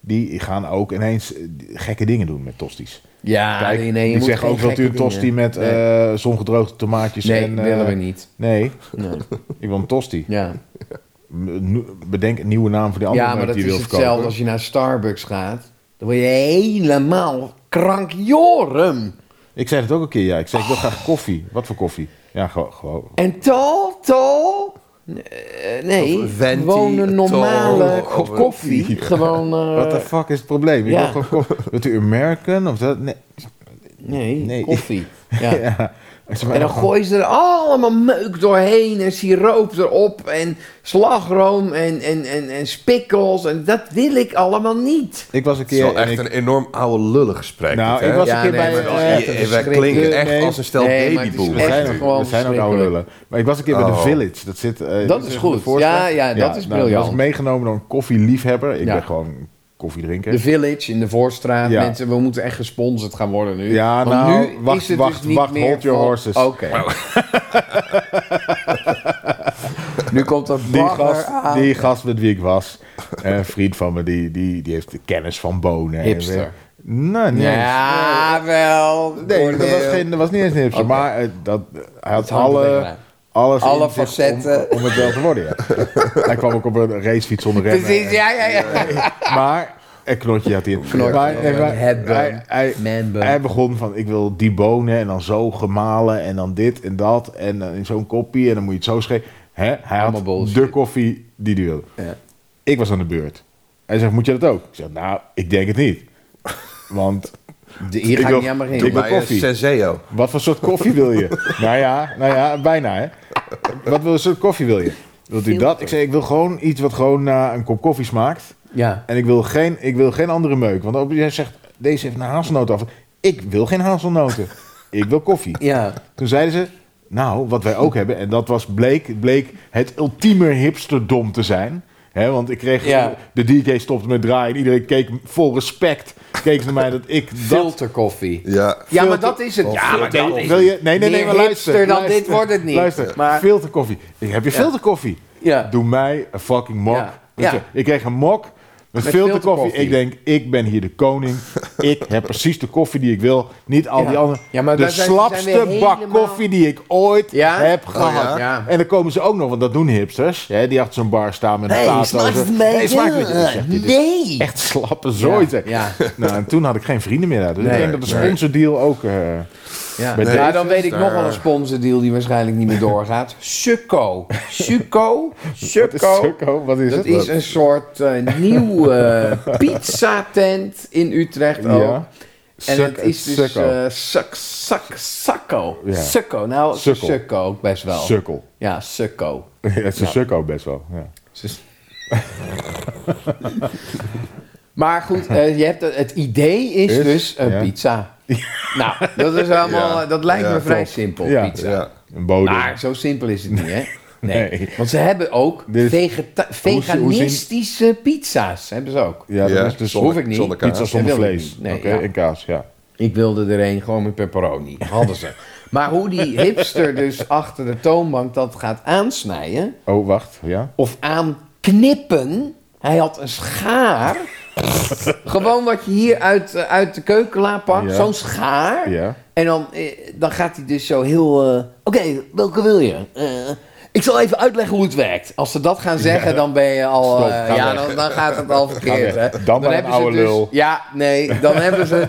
die gaan ook ineens eh, gekke dingen doen met tosties.
ja, Ah, nee, nee, je
die
moet
zeggen
geen
ook dat u een
gekke
tosti
dingen.
met
Nee,
eh zongedroogde tomaatjes
nee
en. eh,
willen we niet.
Nee,
Nee.
ik wil een tosti.
Ja.
M- nu- Bedenk een nieuwe naam voor die andere
Ja, maar
merk
dat
die je
is
wilt
hetzelfde
verkopen.
als je naar Starbucks gaat. Dan word je helemaal krankjoren.
Ik zei het ook een keer, ja. Ik zei, ik
Oh.
wil graag koffie. Wat voor koffie? Ja, gewoon. gewoon.
En tal, tal... eh, Nee,
Of venti,
gewoon een normale
tol, of-
koffie. Gewoon... eh,
What the fuck is het probleem? Ik
ja.
wil gewoon koffie. Wilt u American of dat? Nee.
nee,
Nee.
koffie. Ja.
Ja. Ik zei, maar
En dan
gewoon-
gooien ze er allemaal meuk doorheen en siroop erop en slagroom en, en, en, en spikkels. En dat wil ik allemaal niet.
Ik was een
Het is
keer.
wel
en
echt
ik-
een enorm oude lullen gesprek.
Nou,
dit,
ik
hè?
was een
Ja,
keer
nee,
bij.
maar dat is
eh,
niet-
Eh, Wij
verschrikkelijk.
klinken echt
Nee,
als een stel
nee, maar het is
babyboomers.
we
echt
zijn, ook-
gewoon
we zijn ook oude
verschrikkelijk.
lullen. Maar ik was een keer bij de
Oh.
Village. Dat, zit, eh,
Dat is
in de
goed.
voorstad.
Ja, ja, dat is
nou,
briljant.
Dat was meegenomen door een koffieliefhebber. Ik
Ja.
ben gewoon koffiedrinker.
De Village in de Voorstraat.
Ja.
Mensen, we moeten echt gesponsord gaan worden nu.
Ja,
Want
nou,
nu
wacht,
is het
wacht,
dus niet
wacht,
meer
hold your
van-
horses.
Oké. nu komt dat
die,
bagger
gast,
aan.
die gast met wie ik was, eh, een vriend van me, die, die, die heeft de kennis van bonen. en
Hipster.
weer- Nou, nee.
Ja, wel.
Nee, dat
Cornel.
was, geen, dat was niet eens een hipster.
Oké.
Maar eh, dat, hij had
hangt er
alle,
tegenaan.
alles
Alle
in zich om-
facetten.
Om, het wel te worden, ja. hij kwam ook op een racefiets zonder remmen.
Precies, ja, ja, ja.
Maar een knotje had hij in.
Knotje,
maar, nee, maar
headbun,
hij, hij,
manbun.
hij begon van ik wil die bonen en dan zo gemalen en dan dit en dat en dan in zo'n koppie en dan moet je het zo schrijven. Hè? Hij
Allemaal
had
bullshit.
de koffie die hij wilde.
Ja.
Ik was aan de beurt. Hij zegt, moet je dat ook? Ik zeg, nou, ik denk het niet. Want
De- Hier
Ik
ga ik
wil-
niet aan
Doe
beginnen.
maar.
Bij eh,
koffie.
Senseo.
wat voor soort koffie wil je? nou ja, nou ja, bijna hè. Wat voor soort koffie wil je? Wilt u dat? Ik zeg, ik wil gewoon iets wat gewoon naar een kop koffie smaakt.
Ja.
En ik wil geen, ik wil geen andere meuk. Want als jij zegt deze heeft een hazelnoot af. Ik wil geen hazelnoten. ik wil koffie.
Ja.
Toen zeiden ze, nou, wat wij ook hebben, en dat was bleek, bleek het ultieme hipsterdom te zijn. hè, want ik kreeg,
Ja.
de DJ stopte met draaien en iedereen keek vol respect, keek naar mij dat ik dat...
Filterkoffie.
Ja,
Ja, maar
Filter-
dat is het.
Of
Ja, maar
filter-
dat is
Wil je, nee, nee, nee,
Meer
maar luister.
hipster dan
luister,
dit wordt het niet.
Luister,
Maar-
filterkoffie. Ik heb je filterkoffie.
Ja.
Doe mij een fucking mok.
Ja. Ja.
Ik kreeg een mok met,
Met
filterkoffie.
filterkoffie.
Ik denk, ik ben hier de koning. ik heb precies de koffie die ik wil. Niet al
Ja.
die andere.
Ja, maar
de
daar zijn ze- zijn
slapste
weer
bak
helemaal-
koffie die ik ooit
Ja?
heb
Oh,
gehad.
ja. Ja.
En dan komen ze ook nog, want dat doen hipsters. Hè, die achter zo'n bar staan met een tato.
smaakt
zo.
het mij
Nee, smaakt het niet. Ik zeg, dit is
Nee.
Echt slappe zooi.
Ja.
zeg.
Ja.
Nou, en toen had ik geen vrienden meer daar. Dus
Nee.
ik denk dat de
Nee.
sponsordeal ook... eh,
Ja,
Bij
ja
deze
dan weet ik nog wel een sponsordeal die waarschijnlijk niet meer doorgaat. Succo. Succo.
wat is
Succo.
Sukko? Wat is
Dat
het?
is een soort eh, nieuwe pizza tent in Utrecht ook.
Ja.
En
Suk-
het is dus
Sukko.
eh suk, suk, sukko.
Ja.
Sukko. Nou,
Sukkel.
sukko ook best wel.
Sukkel.
Ja, sukko.
Ja, het is een sukko best wel. Ja.
Maar goed, eh, je hebt het, het idee is,
Is,
dus een
ja.
pizza. Nou, dat is allemaal, eh,
Ja.
dat lijkt
Ja,
me vrij
klopt.
simpel,
Ja.
pizza.
ja.
Een bodem.
Maar zo simpel is het niet, hè? Nee.
Nee.
Want ze hebben ook
Dit is-
vegeta-
hoe zien-
veganistische pizza's. Hebben ze ook.
ja, dat
Ja,
is dus
zonder-
hoef ik niet.
Zonder kaas.
pizza zonder
Dat wil ik
vlees.
niet. Nee,
Oké,
ja.
en kaas, ja.
Ik wilde er een gewoon met pepperoni. Hadden ze. maar hoe die hipster dus achter de toonbank dat gaat aansnijden
Oh, wacht, ja.
of aanknippen. Hij had een schaar. gewoon wat je hier uit, eh, uit de keukenla pakt.
Ja.
Zo'n schaar.
Ja.
En dan, eh, dan gaat hij dus zo heel. eh, Oké, welke wil je? Eh, ik zal even uitleggen hoe het werkt. Als ze dat gaan zeggen, dan ben je al.
Stop,
eh,
ga
ja,
weg.
dan, dan gaat het al verkeerd.
Ga
Hè?
weg. Dan maar een
hebben ze
oude
dus-
lul.
Ja, nee, dan hebben ze,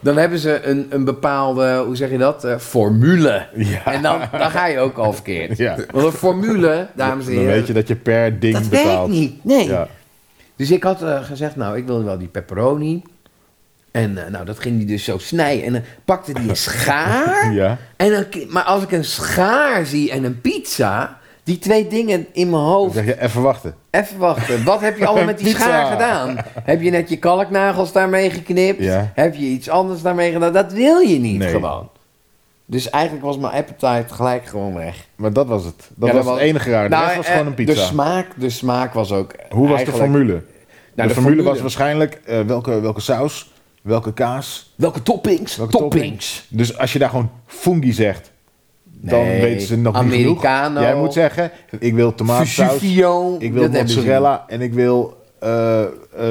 dan hebben ze een, een bepaalde, hoe zeg je dat? eh, formule.
Ja.
En dan, dan ga je ook al verkeerd.
Ja.
Want een formule, dames en
Dan
heren,
weet je dat je per ding
dat
betaalt.
werkt niet. Nee.
Ja.
Dus ik had eh, gezegd, nou, ik wilde wel die pepperoni. En eh, nou, dat ging hij dus zo snijden. En dan pakte hij een schaar.
Ja.
En dan, ki- maar als ik een schaar zie en een pizza, die twee dingen in mijn
Dan
hoofd.
zeg je, even wachten.
Even wachten, wat heb je allemaal met die
Pizza.
schaar gedaan? Heb je net je kalknagels daarmee geknipt?
Ja.
Heb je iets anders daarmee gedaan? Dat wil je niet
Nee.
gewoon. Dus eigenlijk was mijn appetite gelijk gewoon weg.
Maar dat was het. Dat,
Ja,
was, het enige raar. De
Nou,
rest was
eh,
gewoon een pizza.
De smaak, de smaak was ook.
Hoe was de
eigenlijk- Nou,
formule? de,
de
formule,
formule.
was waarschijnlijk eh, welke, welke saus, welke kaas,
Welke toppings?
welke
toppings.
topping. Dus als je daar gewoon fungi zegt, dan
Nee,
weten ze nog niet
Americano.
genoeg. Jij moet zeggen, ik wil tomaatsaus,
Vesuvio.
Ik wil
dat hebben ze
mozzarella en ik wil eh, eh,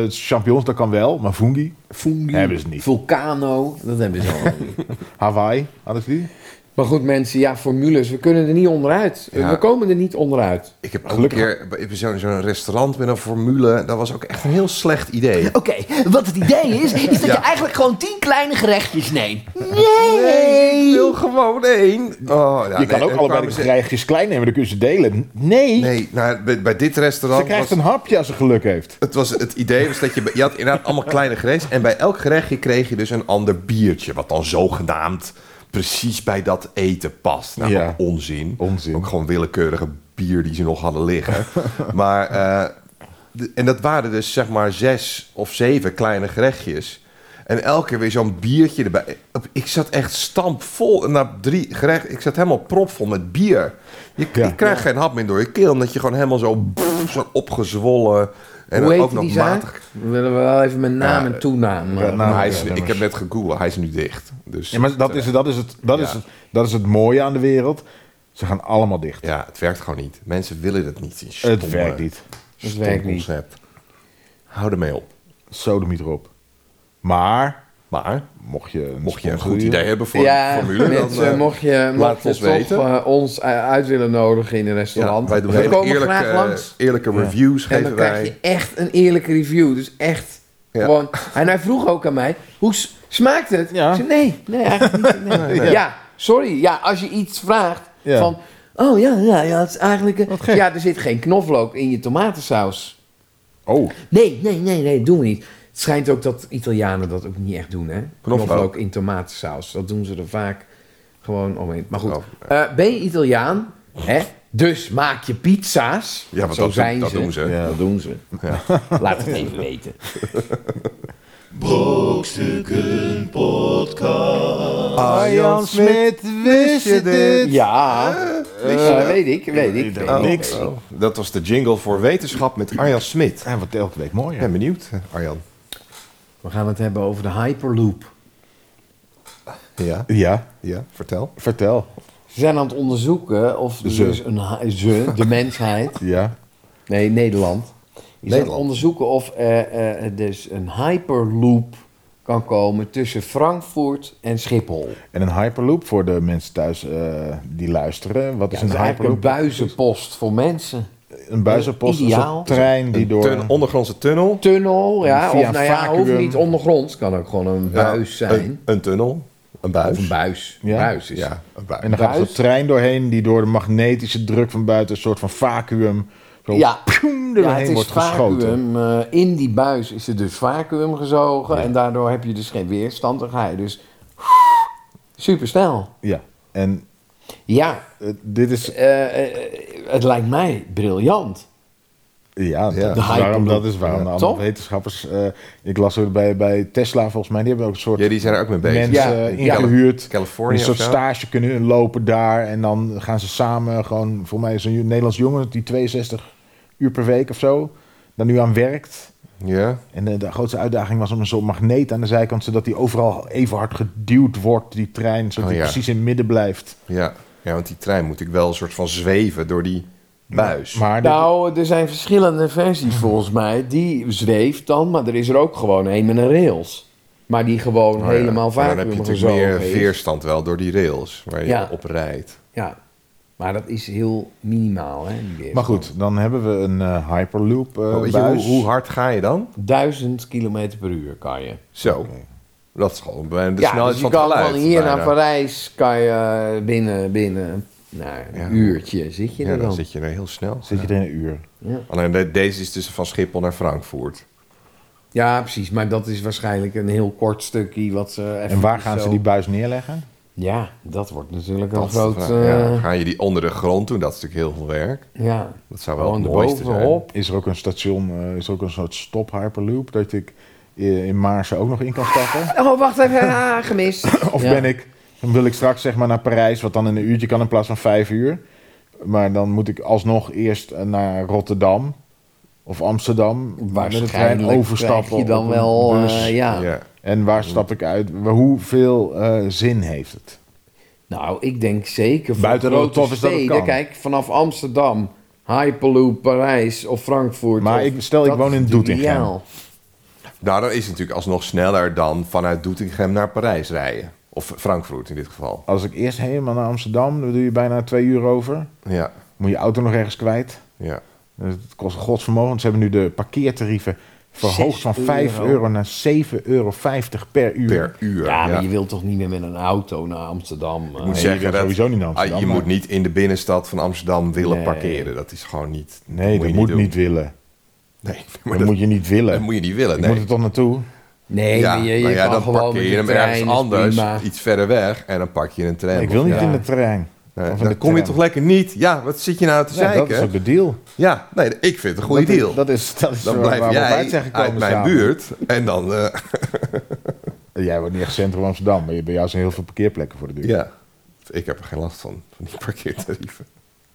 champignons, dat kan wel, maar fungi.
niet. Fungi.
Hebben ze niet.
Vulcano. Dat hebben ze allemaal niet.
Hawaii, hadden ze die?
Maar goed, mensen, ja, formules. We kunnen er niet onderuit.
Ja.
We komen er niet onderuit.
Ik heb ook een keer bij- bij zo'n zo'n restaurant met een formule. Dat was ook echt een heel slecht idee.
Oké, wat het idee is, is dat
Ja.
je eigenlijk gewoon tien kleine gerechtjes neemt.
Nee, ik wil gewoon één. Oh, ja,
je kan ook allebei de
krijgen.
krijgjes klein nemen, dan kun je ze delen. eh, Nee,
Nee, nou, bij, bij dit
ze
restaurant
krijgt
was,
een hapje als ze geluk heeft.
het, was het idee was dat je... bij- Je had inderdaad allemaal kleine gerechtjes. En bij elk gerechtje kreeg je dus een ander biertje. Wat dan zogenaamd precies bij dat eten past. Nou,
Ja.
ook onzin.
Onzin.
Ook gewoon willekeurige bier die ze nog hadden liggen. maar... eh, de- en dat waren dus zeg maar zes of zeven kleine gerechtjes. En elke keer weer zo'n biertje erbij. Ik zat echt stampvol. En na drie gerecht, ik zat helemaal propvol met bier. Je,
Ja.
je krijgt geen hap meer door je keel. Omdat je gewoon helemaal zo, pff, zo opgezwollen. En
Hoe
dan
heet
ook nog
die zaak?
matig.
We willen wel even met naam
Ja,
en toenaam. eh,
ja, nou,
Maar hij is,
ja,
ik heb net gegoogeld. Hij is nu dicht. Dus,
Ja, maar dat is, dat, is het, dat, is
Ja.
het, dat is het mooie aan de wereld. Ze gaan allemaal dicht.
ja, het werkt gewoon niet. Mensen willen het niet. Die
het
stomme-
werkt niet.
dat
stom
werkt niet.
concept. Hou ermee op.
Sodemiet erop. Maar,
Maar
mocht je een,
mocht je een goed
sponsor huren-
idee hebben voor
ja,
een formule... dan,
mensen,
eh,
mocht je,
laat
mocht je
ons
toch
weten.
eh, ons eh, uit willen nodigen in een
Ja,
restaurant.
wij doen eh,
we
hele
komen
eerlijke,
graag langs.
eerlijke reviews
En dan
geven
krijg je
wij.
echt een eerlijke review. Dus echt.
Ja.
Gewoon. En hij vroeg ook aan mij: hoe s- smaakt het?
Ja.
Ik zei, nee, nee, eigenlijk niet. Nee.
nee.
Ja, sorry. Ja, als je iets vraagt
Ja.
van. Oh ja, ja, ja, het is eigenlijk. eh, ja, er zit geen knoflook in je tomatensaus.
Oh,
Nee, nee, nee, nee, doen we niet. Het schijnt ook dat Italianen dat ook niet echt doen, hè?
Knoflook.
in tomatensaus. Dat doen ze er vaak gewoon omheen. Maar goed,
Oh,
Eh, ben je Italiaan? Hè? Dus maak je pizza's.
Ja, want
Zo
dat,
zijn
dat
ze.
doen ze.
ja.
Dat doen ze. Laat het even weten.
Brokstukken podcast.
Jan Smit, wist je dit?
Ja, eh, weet ik, weet ik. weet ik.
Niks. Oh, Dat was de jingle voor wetenschap met Arjan Smit.
Hij wordt elke week
Ik
mooier.
ben benieuwd, Arjan.
We gaan het hebben over de Hyperloop.
Ja,
Ja,
ja vertel.
vertel.
Ze zijn aan het onderzoeken of er
Ze.
dus een hy- ze, de mensheid,
Ja.
nee Nederland, is aan het
Nederland.
onderzoeken of eh, eh, dus een Hyperloop kan komen tussen Frankfurt en Schiphol.
En een hyperloop voor de mensen thuis eh, die luisteren. Wat
Ja,
is
het
een
is eigenlijk een
hyperloop?
buizenpost voor mensen.
Een buizenpost, een
Ideaal.
soort trein die
Een
door...
tun- ondergrondse tunnel.
Tunnel, ja,
Via
of nou ja,
vacuüm.
hoeft niet ondergronds, kan ook gewoon een
Ja,
buis zijn.
Nou, Een, een tunnel. Een buis.
Of een buis.
Ja.
buis is
Ja, een buis.
En dan gaat er
Buis.
zo'n trein doorheen die door de magnetische druk van buiten een soort van vacuüm zo
Ja.
pjoem,
Ja,
doorheen
het is
wordt geschoten.
vacuüm. eh, in die buis is er dus vacuüm gezogen. En daardoor heb je dus geen weerstand. Dan ga je dus super snel.
Ja. En
Ja,
eh, dit is...
eh, eh, het lijkt mij briljant.
Ja, dat,
Ja.
is
De
waarom,
hyperloop.
dat is waarom. Nou,
Toch?
wetenschappers... eh, ik las ook bij, bij Tesla volgens mij, die hebben ook een soort...
Ja, die zijn er ook mee bezig.
mensen
Ja.
eh, ingehuurd.
Californië
een soort
of zo.
stage kunnen lopen daar. En dan gaan ze samen gewoon, voor mij is een Nederlands jongen die 62 uur per week of zo, daar nu aan werkt.
Ja.
En de, de grootste uitdaging was om een soort magneet aan de zijkant, zodat die overal even hard geduwd wordt, die trein, zodat
Oh,
die
ja.
precies in het midden blijft.
Ja. ja, want die trein moet ik wel een soort van zweven door die buis.
Maar dit-
Nou, er zijn verschillende versies volgens mij. Die zweeft dan, maar er is er ook gewoon een met een rails. Maar die gewoon
Maar Oh ja,
helemaal
maar Dan heb je
vacuüm
natuurlijk meer
gezogen is.
weerstand wel door die rails waar je
Ja.
op rijdt.
Ja, maar dat is heel minimaal. Hè, die weerstand.
maar goed, dan hebben we een eh, Hyperloop eh,
Maar Oh, weet je, hoe,
buis.
hoe hard ga je dan?
1000 kilometer per uur kan je.
Zo. Dat is gewoon bijna de
ja,
snelheid
dus je
van het
kan
geluid.
van hier naar
bijna.
Parijs kan je eh, binnen, binnen nou, een
Ja.
uurtje zit je
Ja,
er
dan
dan.
zit je er heel snel.
Zit je er in een uur?
Alleen de- deze is dus van Schiphol naar Frankfurt.
Ja, precies. Maar dat is waarschijnlijk een heel kort stukje wat ze even
En waar gaan
zo-
ze die buis neerleggen?
Ja, dat wordt natuurlijk
Dat
een
is de
groot...
vraag.
eh,
Ja,
ja,
ga je die onder de grond doen? Dat is natuurlijk heel veel werk. Dat zou wel
Gewoon
het mooiste zijn.
erbovenop.
Is er ook een station, eh, is er ook een soort stop Hyperloop, dat ik eh, in Maarsen ook nog in kan stappen?
Oh, wacht even. Ah, gemist.
Of
Ja.
ben ik, dan wil ik straks zeg maar naar Parijs, wat dan in een uurtje kan in plaats van vijf uur. Maar dan moet ik alsnog eerst eh, naar Rotterdam of Amsterdam.
Waarschijnlijk krijg je dan
op een
wel... eh,
bus.
ja.
Ja.
En waar stap ik uit? Hoeveel eh, zin heeft het?
Nou, ik denk zeker voor
Buiten dat
grote
het tof is dat het
steden.
kan.
Kijk, vanaf Amsterdam, Hyperloop, Parijs of Frankfurt.
Maar
of-
ik- stel, ik
dat
woon in
is
Doetinchem.
ideaal.
Nou, dat is natuurlijk alsnog sneller dan vanuit Doetinchem naar Parijs rijden. Of Frankfurt in dit geval.
Als ik eerst helemaal naar Amsterdam, dan doe je bijna twee uur over.
Ja,
Moet je auto nog ergens kwijt.
ja.
Het kost een godsvermogen. want Ze hebben nu de parkeertarieven verhoogd van
Zes
5
euro.
euro naar 7,50 euro per uur.
Per uur.
Ja, maar
ja.
je wilt toch niet meer met een auto naar Amsterdam? eh?
moet
Nee, je
zeggen
wil
dat,
sowieso niet naar
Ah,
Amsterdam,
je
maar-
moet niet in de binnenstad van Amsterdam willen
Nee.
parkeren. Dat is gewoon niet.
Nee, dat
je
moet
doen.
niet willen.
Nee, maar
Dat,
dat,
moet je niet willen.
dat moet je niet willen.
Ik
Nee.
moet er toch naartoe?
nee,
ja,
je, je
nou ja,
kan
dan
gewoon
parkeer
met
je
de
hem
trein,
ergens
is
anders,
prima.
iets verder weg, en dan pak je een tram.
ik wil
of-
niet
ja.
in de trein.
Nee,
Of in
dan
de
kom je
tram.
toch lekker niet? Ja, wat zit je nou te
Ja,
zeiken?
dat is ook de deal.
Ja, nee, ik vind het een goede
dat,
deal.
Dat is, dat is
dan
waar-
blijf
waar we op uit zijn
jij
gekomen
uit mijn
samen.
buurt en dan... eh,
Jij wordt niet echt centrum Amsterdam, maar je- bij jou zijn heel veel parkeerplekken voor de deur.
ja, ik heb er geen last van, van die parkeertarieven.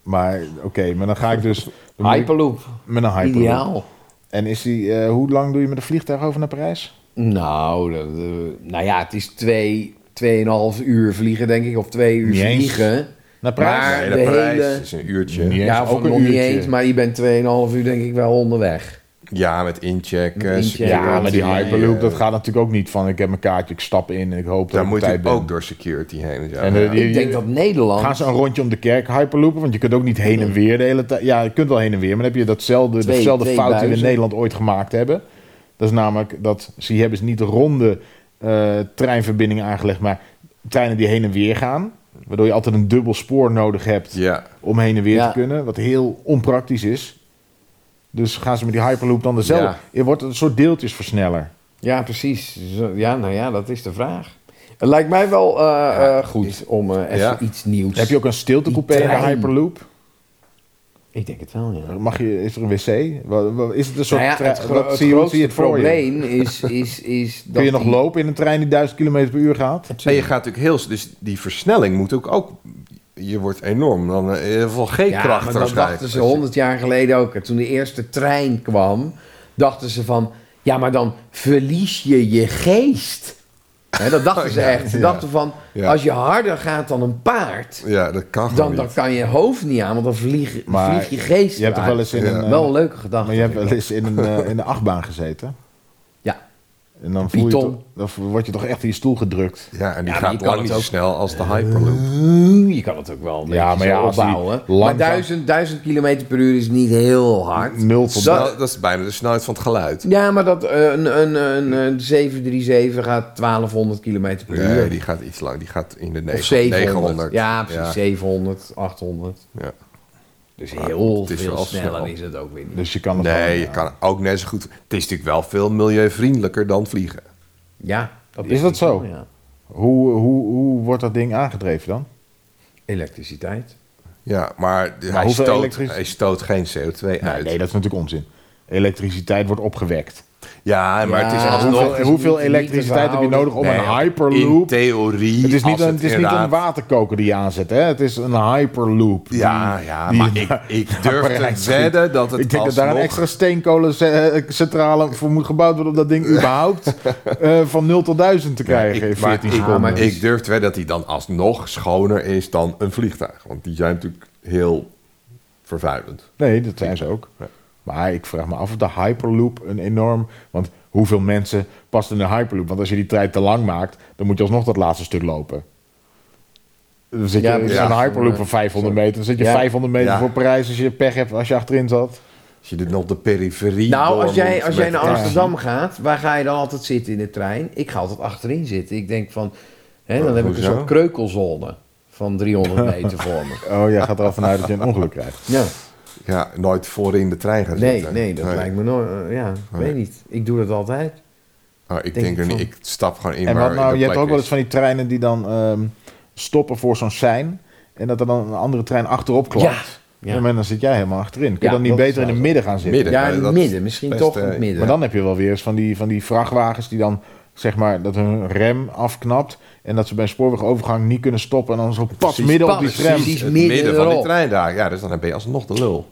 Maar oké, maar dan ga ik dus dan moet ik
Hyperloop,
met een hyperloop.
ideaal.
En is die, eh, hoe lang doe je met een vliegtuig over naar Parijs?
Nou, dat, eh, nou ja, het is twee, tweeënhalf uur vliegen, denk ik. Of twee uur
Niet eens.
vliegen.
Naar Parijs?
Maar-
Nee,
de
naar Parijs
hele-
is een uurtje.
Ja.
Ja,
is
of
ook een
nog niet
uurtje.
eens, maar je bent tweeënhalf uur denk ik wel onderweg.
Ja, met incheck.
Met
eh,
incheck.
security.
Ja, maar
die
Eh,
Hyperloop, dat gaat natuurlijk ook niet van ik heb mijn kaartje, ik stap in en ik hoop dat
Daar
ik op
moet
tijd
ik
ben.
ook door security heen. Ja.
En, eh, die-
Ik denk dat Nederland...
Gaan ze een rondje om de kerk hyperloopen? Want je kunt ook niet heen en weer de hele tijd. Ja, je kunt wel heen en weer, maar dan heb je datzelfde,
Twee-
dezelfde
twee
fout die we in
buizen.
Nederland ooit gemaakt hebben. Dat is namelijk dat ze hebben ze niet ronde eh, treinverbindingen aangelegd, maar treinen die heen en weer gaan. Waardoor je altijd een dubbel spoor nodig hebt
ja.
om heen en weer
Ja.
te kunnen. Wat heel onpraktisch is. Dus gaan ze met die hyperloop dan dezelfde.
Ja.
Je wordt een soort deeltjesversneller.
Ja, precies. Zo- Ja, nou ja, dat is de vraag. Het lijkt mij wel eh, eh, goed om eh, even
Ja.
iets nieuws...
Dus Dan heb je ook een stiltecoupé
Die
in de
trein.
hyperloop.
Ik denk het wel, ja.
Mag je, is er een wc? Wat- wat- Is het een soort...
Nou ja,
trein-
het, gro-
wat
het
zie je- hoe zie
grootste
je het voor je?
probleem is, is, is dat
Kun je nog
die-
lopen in een trein die 1000 km per uur gaat?
En je gaat natuurlijk heel... Dus die versnelling moet ook... ook je wordt enorm. Dan eh, in ieder geval
Ja,
G-kracht
maar dat
waarschijnlijk.
dachten ze honderd jaar geleden ook. En Toen de eerste trein kwam, dachten ze van... Ja, maar dan verlies je je geest. Hè, dat
Oh,
dachten ze
Ja,
echt. Ze
ja.
dachten van,
Ja.
als je harder gaat dan een paard...
Ja, dat kan gewoon
Dan,
niet.
dan kan je hoofd niet aan, want dan vlieg,
Maar
vlieg je geest
Je hebt toch
eruit.
wel eens in
Ja.
een... eh,
Wel een leuke gedachte.
Maar je hebt wel eens in een, eh, in een achtbaan gezeten.
Ja.
En dan, voel je
Python.
toch- dan word je toch echt in je stoel gedrukt.
Ja, en die
Ja, maar je
gaat
kan
lang
het
niet zo
ook- Eh,
snel als de Hyperloop.
Je kan het ook wel een
Ja,
beetje
maar ja,
zo
als die
opbouwen. Maar
langzaam-
duizend, duizend kilometer per uur is niet heel hard.
Nul van
Dat-
Nou, dat is bijna de snelheid van het geluid.
Ja, maar dat, eh, een, een, een, een 737 gaat 1200 kilometer per uur.
Nee, die gaat iets lang. Die gaat in de
Of
900.
700.
900.
Ja, precies. 700, 800.
Ja.
Dus heel
het is
veel
wel
sneller
snel.
is het ook weer niet.
Dus je kan het gewoon,
Nee, je
ja.
kan ook net zo goed. Het is natuurlijk wel veel milieuvriendelijker dan vliegen.
Ja.
Is dat
niet
zo?
Ja.
Hoe, hoe, hoe wordt dat ding aangedreven dan?
Elektriciteit.
Ja, maar, hij,
hoeveel
stoot,
elektrisch-
hij stoot geen CO2
Nee,
uit.
nee, dat is natuurlijk onzin. Elektriciteit wordt opgewekt.
Ja, maar het is
Ja,
alsnog...
Hoeveel,
het is
hoeveel
niet- niet te
elektriciteit heb je
verhouden.
nodig om
Nee,
een
In
hyperloop...
theorie...
Het is niet,
als
een, het is niet een
inderdaad-
waterkoker die je aanzet, hè? Het is een hyperloop. die-
Ja, ja,
die-
maar ik, ik durf
Parijs
te
schiet.
wedden dat het
ik denk dat daar een
alsnog-
extra steenkolencentrale voor moet gebouwd worden... om dat ding überhaupt eh, van 0 tot 1000 te krijgen in
ik, maar
14
ik,
seconden.
maar het is-
ik durf te wedden dat hij dan alsnog schoner is dan een vliegtuig. Want die zijn natuurlijk heel vervuilend.
Nee, dat zijn ze ook.
Ja.
Maar ik vraag me af of de Hyperloop een enorm... Want hoeveel mensen past in een Hyperloop? Want als je die trein te lang maakt, dan moet je alsnog dat laatste stuk lopen. Dan zit je
Ja,
in
precies.
een Hyperloop van 500 meter. Dan zit je
Ja.
500 meter
Ja.
voor Parijs als je pech hebt als je achterin zat.
Als je dit nog de periferie...
Nou, als
doormoet
jij, als jij
met-
naar Amsterdam gaat, waar ga je dan altijd zitten in de trein? Ik ga altijd achterin zitten. Ik denk van, hè, dan
Oh,
heb ik een
hoezo?
soort kreukelzone van 300 meter voor me.
Oh, jij gaat er al vanuit dat je een ongeluk krijgt.
Ja.
Ja, nooit voorin de trein gaan
Nee,
zitten.
nee, dat lijkt me nooit. eh, ja, weet niet. Ik doe dat altijd.
Oh, ik
Denk
denk, er
ik
niet.
van-
Ik stap gewoon in
En
waar
wat nou,
de
je hebt
plek
ook wel eens
is.
van die treinen die dan ehm, stoppen voor zo'n sein. En dat er dan een andere trein achterop klapt.
Ja.
En dan zit jij helemaal achterin. Kun je
Ja,
dan niet
dat is
beter in het
wel
midden gaan zitten?
Midden,
Ja,
maar
in het
dat
midden.
is
Misschien
best,
toch in het
eh,
midden.
Maar dan heb je wel weer eens van die, van die vrachtwagens die dan zeg maar dat hun rem afknapt en dat ze bij een spoorwegovergang niet kunnen stoppen en dan zo pas
Precies,
midden op die
pas,
tram.
precies.
Precies het
midden
midden van die
erop.
trein daar. Ja, dus dan ben je alsnog de lul.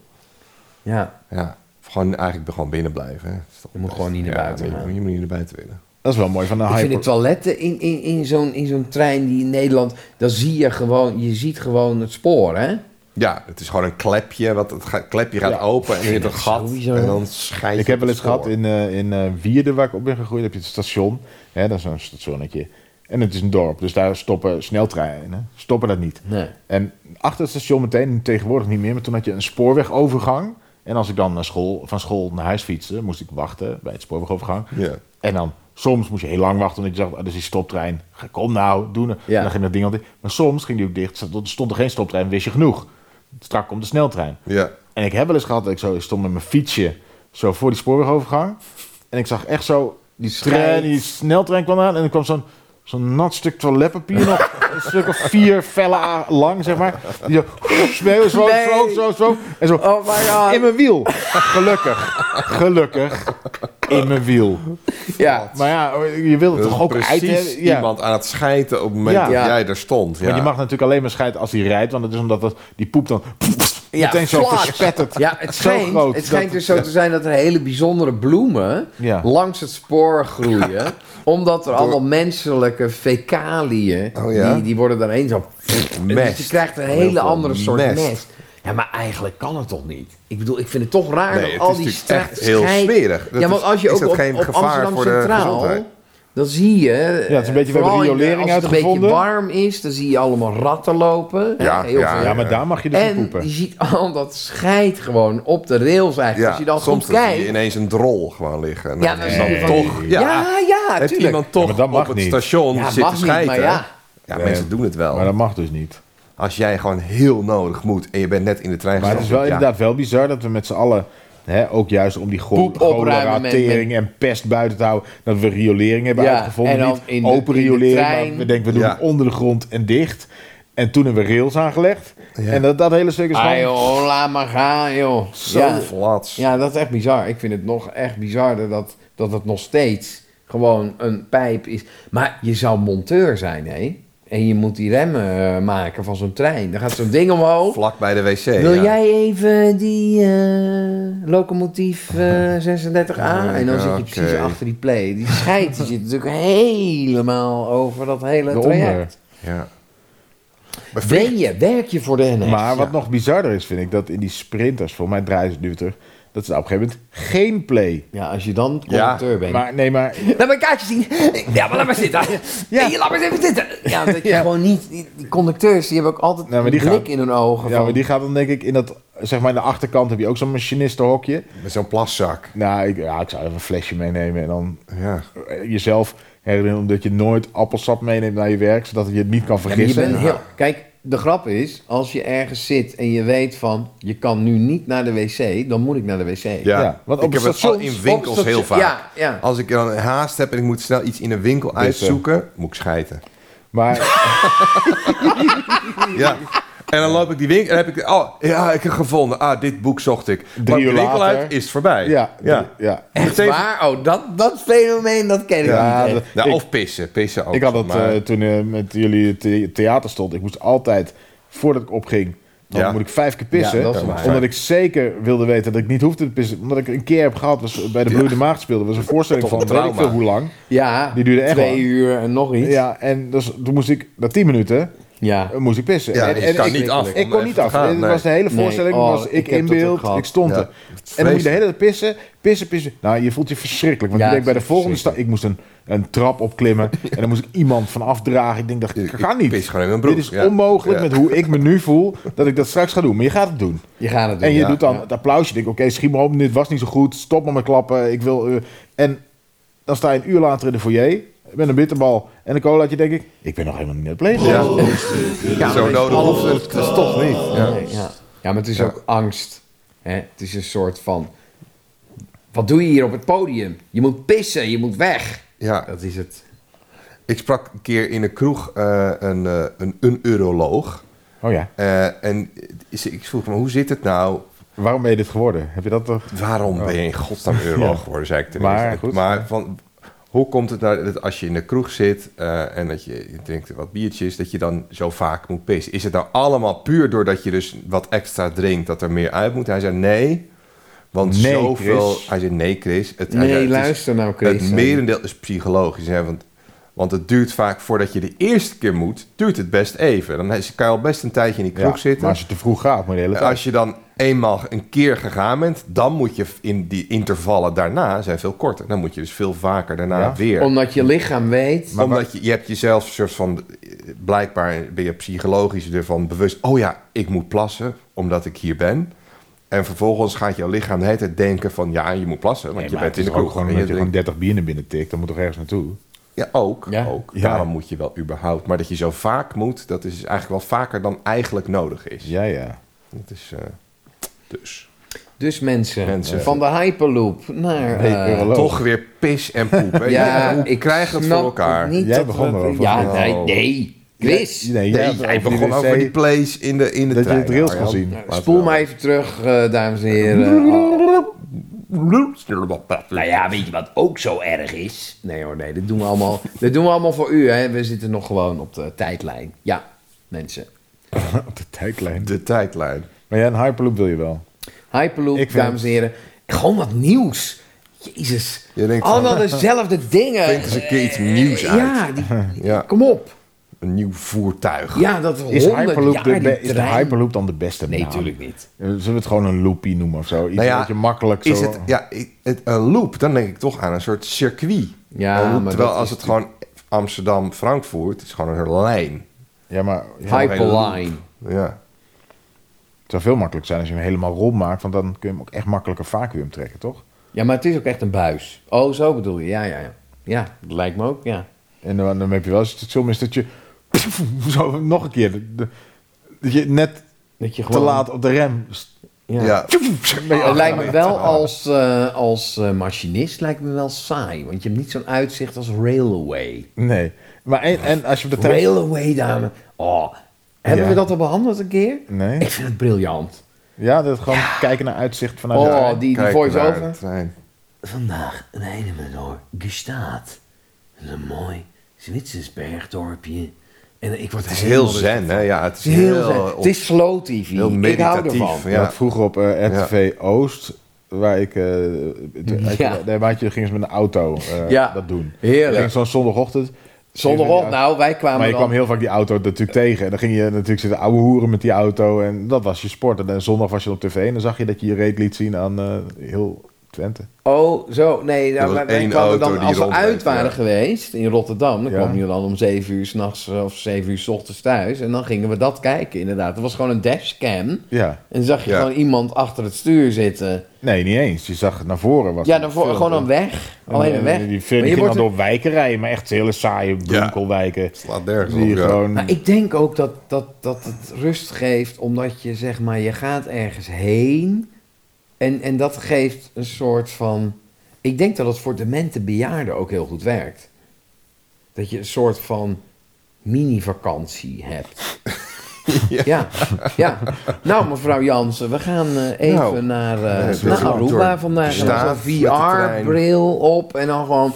Ja.
Ja, of gewoon eigenlijk gewoon binnen blijven. hè. Dat is toch
Je moet
best.
gewoon niet naar
Ja,
buiten
nee,
gaan.
Je, moet niet naar buiten willen.
Dat is wel mooi van een
Ik vind de
hyper.
toiletten in, in, in zo'n in zo'n trein die in Nederland, dan zie je gewoon, je ziet gewoon het spoor, hè?
Ja, het is gewoon een klepje. Wat, het ga- klepje gaat
Ja.
open en je hebt een gat.
sowieso.
En dan schijnt
Ik heb wel eens gehad in, eh, in eh, Wierden, waar ik op ben gegroeid, heb je het station. Hè, dat is een stationnetje. En het is een dorp, dus daar stoppen sneltreinen. Stoppen dat niet.
Nee.
En achter het station meteen, tegenwoordig niet meer, maar toen had je een spoorwegovergang. En als ik dan naar school, van school naar huis fietste, moest ik wachten bij het spoorwegovergang.
Ja.
En dan, soms moest je heel lang wachten, omdat je dacht, ah, dat is die stoptrein. Ga- Kom nou, doen.
Ja.
En dan ging dat ding altijd. Maar soms ging die ook dicht, zat- stond er geen stoptrein, wist je genoeg. Strak komt de sneltrein.
Ja.
En ik heb wel eens gehad dat ik zo ik stond met mijn fietsje zo voor die spoorwegovergang. En ik zag echt zo die, trein,
schijt.
die sneltrein kwam aan. En er kwam zo'n zo'n nat stuk toiletpapier nog. Een stuk of vier vellen a- lang, zeg maar. Die zo, smeeuw, zo,
Nee.
zo, zo, zo. En zo
Oh my god.
in mijn wiel. Gelukkig. Gelukkig. In mijn wiel.
Ja.
Maar ja, oh, je wil het
Dat is
toch ook
precies
uit hebben? Ja.
iemand aan het schijten op het moment
Ja.
dat
Ja.
jij er stond. Ja.
Maar je mag natuurlijk alleen maar scheiden als hij rijdt. Want dat is omdat dat, die poep dan
Ja,
meteen zo
flats.
verspetterd.
Ja, het
Zo
schijnt,
groot
het schijnt
dat-
dus zo te zijn dat er hele bijzondere bloemen
Ja.
langs het spoor groeien. omdat er allemaal menselijke fecaliën,
Oh ja?
die, die worden daarheen zo... Dus je
Mest.
krijgt een
Heel
hele
veel
andere soort
mest.
mest. Ja, maar eigenlijk kan het toch niet? Ik bedoel, ik vind het toch raar
Nee,
dat
het
al
is
die
natuurlijk
straat
echt heel smerig. Dat
ja, want
is-
als je
is
ook
dat
op,
geen
op
gevaar
Amsterdam
voor de
Centraal,
gezondheid?
dan zie je... Ja,
het is een beetje- we hebben riolering
Als het een beetje
uitgevonden.
warm is, dan zie je allemaal ratten lopen. hè,
Ja,
heel
ja,
veel.
Ja, maar daar mag je dus niet
En
poepen.
je ziet al dat scheid gewoon op de rails eigenlijk.
Ja,
Als je dan
soms
goed
dan zie je
kijkt.
ineens een drol gewoon liggen. En
Ja,
dan
dan
is
zie je
dan
van-
toch...
Ja, ja,
heeft
tuurlijk.
iemand
Ja,
toch
maar dat mag
op het
niet.
station
Ja,
zitten
mag niet,
schijten.
maar ja.
Ja, mensen doen het wel.
Maar dat mag dus niet.
Als jij gewoon heel nodig moet en je bent net in de trein
Maar het is wel
gestapt, ja.
inderdaad wel bizar dat we met z'n allen... Hè, ook juist om die go-
Poep opruimen
cholera,
met-
tering en pest buiten te houden... dat we riolering hebben
Ja,
uitgevonden.
en dan
niet
in de-
open
in de
riolering,
trein.
maar we denken we doen
Ja.
het onder de grond en dicht. En toen hebben we rails aangelegd. En dat, dat hele stuk is
Ah,
gewoon...
joh, laat maar gaan, joh.
Zo
ja.
flats.
ja, dat is echt bizar. Ik vind het nog echt bizarder dat, dat het nog steeds gewoon een pijp is. Maar je zou monteur zijn, hè? En je moet die remmen eh, maken van zo'n trein. Dan gaat zo'n ding omhoog.
Vlak bij de wc.
Eh,
Wil
ja.
jij even die eh, locomotief eh, 36A? en dan zit je precies
Oké.
achter die play. Die scheidt die zit natuurlijk helemaal over dat hele
Eronder.
traject.
Ja.
Ben je, werk je voor de NS?
Maar wat
Ja.
nog bizarder is, vind ik, dat in die sprinters, voor mij draaien ze nu terug, dat ze op een gegeven moment geen play.
Ja, als je dan
Ja,
conducteur bent.
Maar nee, maar
Laat mijn kaartje zien. Ja, maar laat maar zitten.
Ja.
Ja. Laat maar eens even zitten.
Ja, dat je
Ja.
gewoon niet... Die, die conducteurs, die hebben ook altijd
Nou, maar
een
die
blik
gaan-
in hun ogen.
Ja,
van-
maar die gaat dan denk ik in dat, zeg maar in de achterkant heb je ook zo'n machinistenhokje.
Met zo'n plaszak.
Nou, ik, ja, ik zou even een flesje meenemen en dan
Ja.
eh, jezelf herinneren dat je nooit appelsap meeneemt naar je werk, zodat je het niet kan
Ja, maar je
vergissen.
bent heel- Kijk, de grap is, als je ergens zit en je weet van... je kan nu niet naar de wc, dan moet ik naar de wc.
Ja.
Ja, want op
ik heb het al
stations-
in winkels
op
heel vaak.
station- ja, ja.
Als ik dan haast heb en ik moet snel iets in een winkel uitzoeken, moet ik schijten.
Maar
Ja. En dan loop ik die winkel en heb ik... Oh, ja, ik heb gevonden. Ah, dit boek zocht ik. Drie
uur
de winkel
later.
uit is voorbij.
ja,
ja.
ja. ja.
Echt waar? Oh, dat, dat fenomeen, dat ken ik niet.
dat-
Nou,
ik,
of pissen. Pissen ook.
ik had dat
maar-
eh, toen eh, met jullie the- theater stond. Ik moest altijd, voordat ik opging, dan
Ja.
moet ik vijf keer pissen.
Ja, dat is waar.
omdat ik zeker wilde weten dat ik niet hoefde te pissen. Omdat ik een keer heb gehad, was bij de Bloeiende Maag speelde, was een voorstelling
Tot
van
een
weet ik
trauma.
veel hoe lang.
Ja,
Die duurde echt
twee
lang.
uur en nog iets.
Ja, en dus, toen moest ik, na tien minuten,
Ja.
eh, moest ik pissen.
Ja,
en,
dus
en
je kan
ik,
niet af
Ik
om
kon
even
niet
te
af.
gaan,
Het
nee.
was de hele
Nee,
voorstelling,
oh,
was ik,
ik heb
in
dat ook
beeld,
gehad.
ik stond
Ja,
er. En dan moet je de
vreselijk.
hele tijd pissen, pissen, pissen. Nou, je voelt je verschrikkelijk. Want
Ja,
je denkt bij de
het is
volgende stap, ik moest een, een trap opklimmen. En dan moest ik iemand van afdragen. Ik denk, dat
Ik-
ga
ik
niet.
pis gewoon in mijn broek,
Dit is
ja.
onmogelijk
Ja.
met hoe ik me nu voel, dat ik dat straks ga doen. Maar je gaat het doen.
Je gaat het doen.
En je
ja.
doet dan
Ja.
het applausje. Je denkt, oké, schiet maar op, dit was niet zo goed. Stop maar met klappen. Ik wil... eh, en dan sta je een uur later in de foyer met een bitterbal en een colaatje, denk ik. Ik ben nog helemaal niet naar het play gegaan.
Ja,
Zo
maar het is
nodig.
alles-
Dat is toch niet. Ja.
Nee, ja. ja, maar het is ook angst. Hè? Het is een soort van... Wat doe je hier op het podium? Je moet pissen, je moet weg.
ja.
Dat is het.
Ik sprak een keer in een kroeg eh, een, eh, een, een uroloog.
Oh ja,
Eh, en is- ik vroeg me, hoe zit het nou?
waarom ben je dit geworden? Heb je dat toch?
Waarom ben je in godsnaam uroloog
Ja.
geworden, zei ik ten
Maar
eerste.
goed.
maar van, hoe komt het nou dat als je in de kroeg zit eh, en dat je, je drinkt wat biertjes, dat je dan zo vaak moet pissen? Is het nou allemaal puur doordat je dus wat extra drinkt, dat er meer uit moet? Hij zei nee, want
Nee,
zoveel...
Chris.
Hij zei nee, Chris. Het, hij
Nee,
zei, het is-
luister nou, Chris.
Het merendeel is psychologisch, hè, want... Want het duurt vaak voordat je de eerste keer moet, duurt het best even. Dan is- kan je al best een tijdje in die kroeg
Ja,
zitten.
Maar als je te vroeg gaat, moet je de hele tijd.
Dus Als je dan eenmaal een keer gegaan bent, dan moet je in die intervallen daarna zijn veel korter. Dan moet je dus veel vaker daarna
Ja.
weer.
Omdat je lichaam weet...
Omdat je, je hebt jezelf een soort van, eh, blijkbaar ben je psychologisch ervan bewust. Oh ja, ik moet plassen omdat ik hier ben. En vervolgens gaat jouw lichaam de hele tijd denken van ja, je moet plassen, want
Nee,
je
maar
bent in
het
de
is dus ook
kroeg.
gewoon
En
dat je
je
gewoon
denkt,
30 bier naar binnen tikt, dan moet toch ergens naartoe.
ja, ook,
Ja.
ook.
Ja.
Daarom moet je wel überhaupt. Maar dat je zo vaak moet, dat is eigenlijk wel vaker dan eigenlijk nodig is.
Ja, ja.
Dat is eh, dus.
Dus mensen,
Mensen.
van de Hyperloop naar...
Hey,
eh,
uroloog.
Toch weer pis en poep. hè?
ja,
Hoe
ik
krijg het
snap
voor elkaar.
niet
Jij
dat
begon
we-
erover.
Ja,
Oh.
nee, nee. Chris,
Nee, jij,
Nee,
hebt
hij
over die
begon
wc.
over die plays in de, in de
Dat je
trein.
het rails
Arjan.
kon zien.
Laten we
spoel
wel-
maar even terug, eh, dames en heren. Oh,
Nou ja, weet je wat ook zo erg is?
Nee hoor, nee, dit doen we allemaal, dit doen we allemaal voor u. Hè. We zitten nog gewoon op de tijdlijn. Ja, mensen.
Op de tijdlijn.
De tijdlijn.
Maar ja, een Hyperloop wil je wel.
Hyperloop,
Ik vind-
dames en heren. Gewoon wat nieuws. Jezus.
Je denkt van,
allemaal dezelfde dingen.
Vind eens een keer iets nieuws uit.
Ja, die-
Ja,
kom op.
een nieuw voertuig.
Ja, dat
Is,
100
Hyperloop
jaar
de,
die
be- is de
trein.
Hyperloop dan de beste
Nee,
naam?
natuurlijk niet.
Eh, Zullen we het gewoon een loopie noemen of zo? Iets
Nou ja,
wat je makkelijk zo...
Is het, ja, ik- het, een loop, dan denk ik toch aan een soort circuit.
Ja,
Een loop,
maar
terwijl
dat
als
is
het gewoon Amsterdam-Frankfurt is gewoon een lijn.
Ja, maar ja, het
Hyperline.
Ja.
zou veel makkelijker zijn als je hem helemaal rond maakt. Want dan kun je hem ook echt makkelijker vacuüm trekken, toch?
Ja, maar het is ook echt een buis. Oh, zo bedoel je. Ja, ja, ja. Ja, dat lijkt me ook, ja.
En dan, dan heb je wel eens het stom is dat je... Zo nog een keer. de- de- Dat je net
Dat je
te
gewoon...
laat op de rem... st-
Ja.
Ja.
ben je
Het lijkt me
afgeleid.
wel als, eh, als eh, machinist lijkt me wel saai. Want je hebt niet zo'n uitzicht als railway.
Nee. Maar en, en als je op de trein...
Railway, dame. Oh, Hebben
Ja.
we dat al behandeld een keer?
Nee?
Ik vind het briljant.
Ja, dat gewoon kijken naar uitzicht vanuit de
Oh,
trein.
die, die
Kijk naar de
voice-over.
trein.
Vandaag rijden we door Gestaat. Dat is een mooi Zwitsers bergdorpje. En ik word
Het is heel zen, hè? Ja, het is heel,
Heel zen. Het is slow TV.
heel
ik hou
meditatief.
ervan.
ja.
Ja. Vroeger op eh, RTV Oost, waar ik... eh
Ja.
Daar had je, gingen ze met een auto eh,
Ja.
dat doen.
Heerlijk.
Ging zo'n zondagochtend.
Zondagochtend, nou, wij kwamen
Maar je
dan...
kwam heel vaak die auto natuurlijk tegen. En dan ging je natuurlijk zitten ouwe hoeren met die auto. En dat was je sport. En dan zondag was je op tv en dan zag je dat je je reet liet zien aan eh, heel Twente.
Oh, zo. Nee, nou,
was
maar wij
één
kwamen
auto
dan,
die
als we
rondreed,
uit waren
ja.
geweest in Rotterdam, dan
Ja.
kwam je dan om 7 uur s'nachts eh, of 7 uur s ochtends thuis. En dan gingen we dat kijken, inderdaad. Het was gewoon een dashcam. En
Ja.
dan zag je
Ja.
gewoon iemand achter het stuur zitten.
Nee, niet eens. Je zag naar voren. Was
Ja,
het
dan voor,
film.
gewoon een weg.
En,
Alleen
eh,
een weg.
Die
Maar
film
je
ging dan
wordt er-
door wijken rijden. Maar echt hele saaie winkelwijken.
Slaat nergens op.
Die
ja.
gewoon...
Maar ik denk ook dat, dat, dat het rust geeft, omdat je zeg maar, je gaat ergens heen. En, en dat geeft een soort van. Ik denk dat het voor demente bejaarden ook heel goed werkt. Dat je een soort van mini-vakantie hebt. Ja. ja, Nou, mevrouw Jansen, we gaan eh, even
Nou,
naar, eh,
nee,
naar
door-
Aruba
door-
vandaag. En
staaf
dan
met de
zo'n
trein.
VR-bril op en dan gewoon...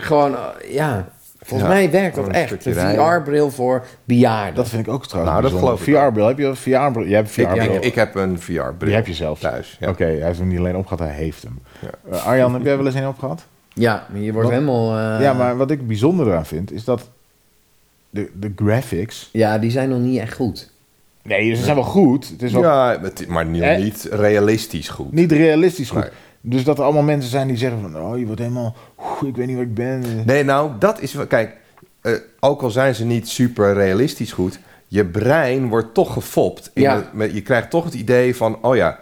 Gewoon, eh, ja. Volgens
Ja,
mij werkt dat
gewoon een
echt.
stukje
De
rijden.
VR-bril voor bejaarden.
Dat vind ik ook trouwens
Nou, dat
bijzonder.
geloof ik.
VR-bril. Heb je een VR-bril? Jij hebt een
Ik,
VR-bril.
ik, ik heb een VR-bril.
Die heb je zelf.
Thuis, ja.
Oké, hij heeft hem niet alleen opgehad, hij heeft hem. Eh, Arjan, heb jij wel eens een opgehad?
Ja, maar je wordt
Wat-
helemaal... eh,
ja, maar wat ik bijzonder eraan vind, is dat de, de graphics...
ja, die zijn nog niet echt goed.
Nee, ze zijn wel goed. Het is wel
Ja, het- maar niet,
Eh?
niet realistisch goed.
niet realistisch goed.
Nee.
Dus dat er allemaal mensen zijn die zeggen van... Oh, je wordt helemaal... oeh, ik weet niet waar ik ben.
Nee, nou, dat is wel... Kijk, eh, ook al zijn ze niet super realistisch goed... je brein wordt toch gefopt. In
Ja.
het- met- je krijgt toch het idee van... oh ja,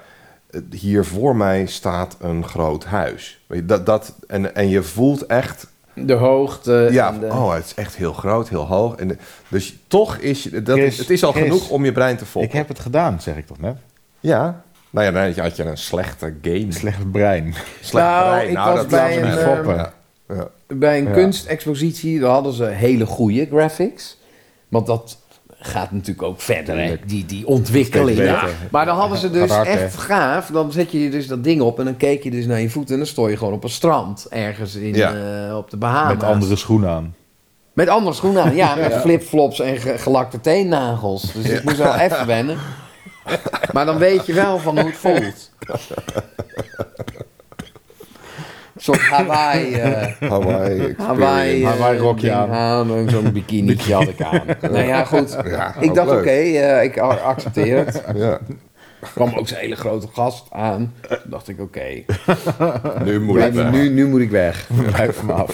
eh, hier voor mij staat een groot huis. Weet je, Dat, dat, en, en je voelt echt...
De hoogte...
Ja,
en de-
oh, het is echt heel groot, heel hoog. En, de- dus toch is... je- Dat
Chris,
is het is al
Chris,
genoeg om je brein te foppen.
Ik heb het gedaan, zeg ik toch net?
Ja. Nou ja, dan had je een slechte game.
Slecht brein.
Slecht
Nou,
brein.
ik was bij
laat me
een,
niet
ehm,
foppen. Ja. Ja.
Bij een
Ja.
kunstexpositie daar hadden ze hele goede graphics. Want dat gaat natuurlijk ook verder, hè? Die, die ontwikkeling.
Steeds
Ja.
beter.
Maar dan hadden ze dus
Gaat hard,
echt
hè?
gaaf. Dan zet je dus dat ding op en dan keek je dus naar je voeten... en dan stond je gewoon op een strand ergens in,
Ja.
eh, op de Bahama's.
Met andere schoenen aan.
Met andere schoenen aan, ja. Met flipflops en ge- gelakte teennagels. Dus ik moest wel even wennen. Maar dan weet je wel van hoe het voelt. Een soort Hawaii... eh,
Hawaii experience.
Hawaii, eh,
Hawaii rokje
ding
aan.
en Zo'n bikinietje had ik aan. Nou ja, goed.
Ja,
ik
ook
dacht, oké,
leuk.
eh, ik a- accepteer het.
Ja.
Er kwam ook zo'n hele grote gast aan. Toen dacht ik, oké,
Nu moet
blijf-
ik weg.
nu, nu moet ik weg.
Blijf van me af.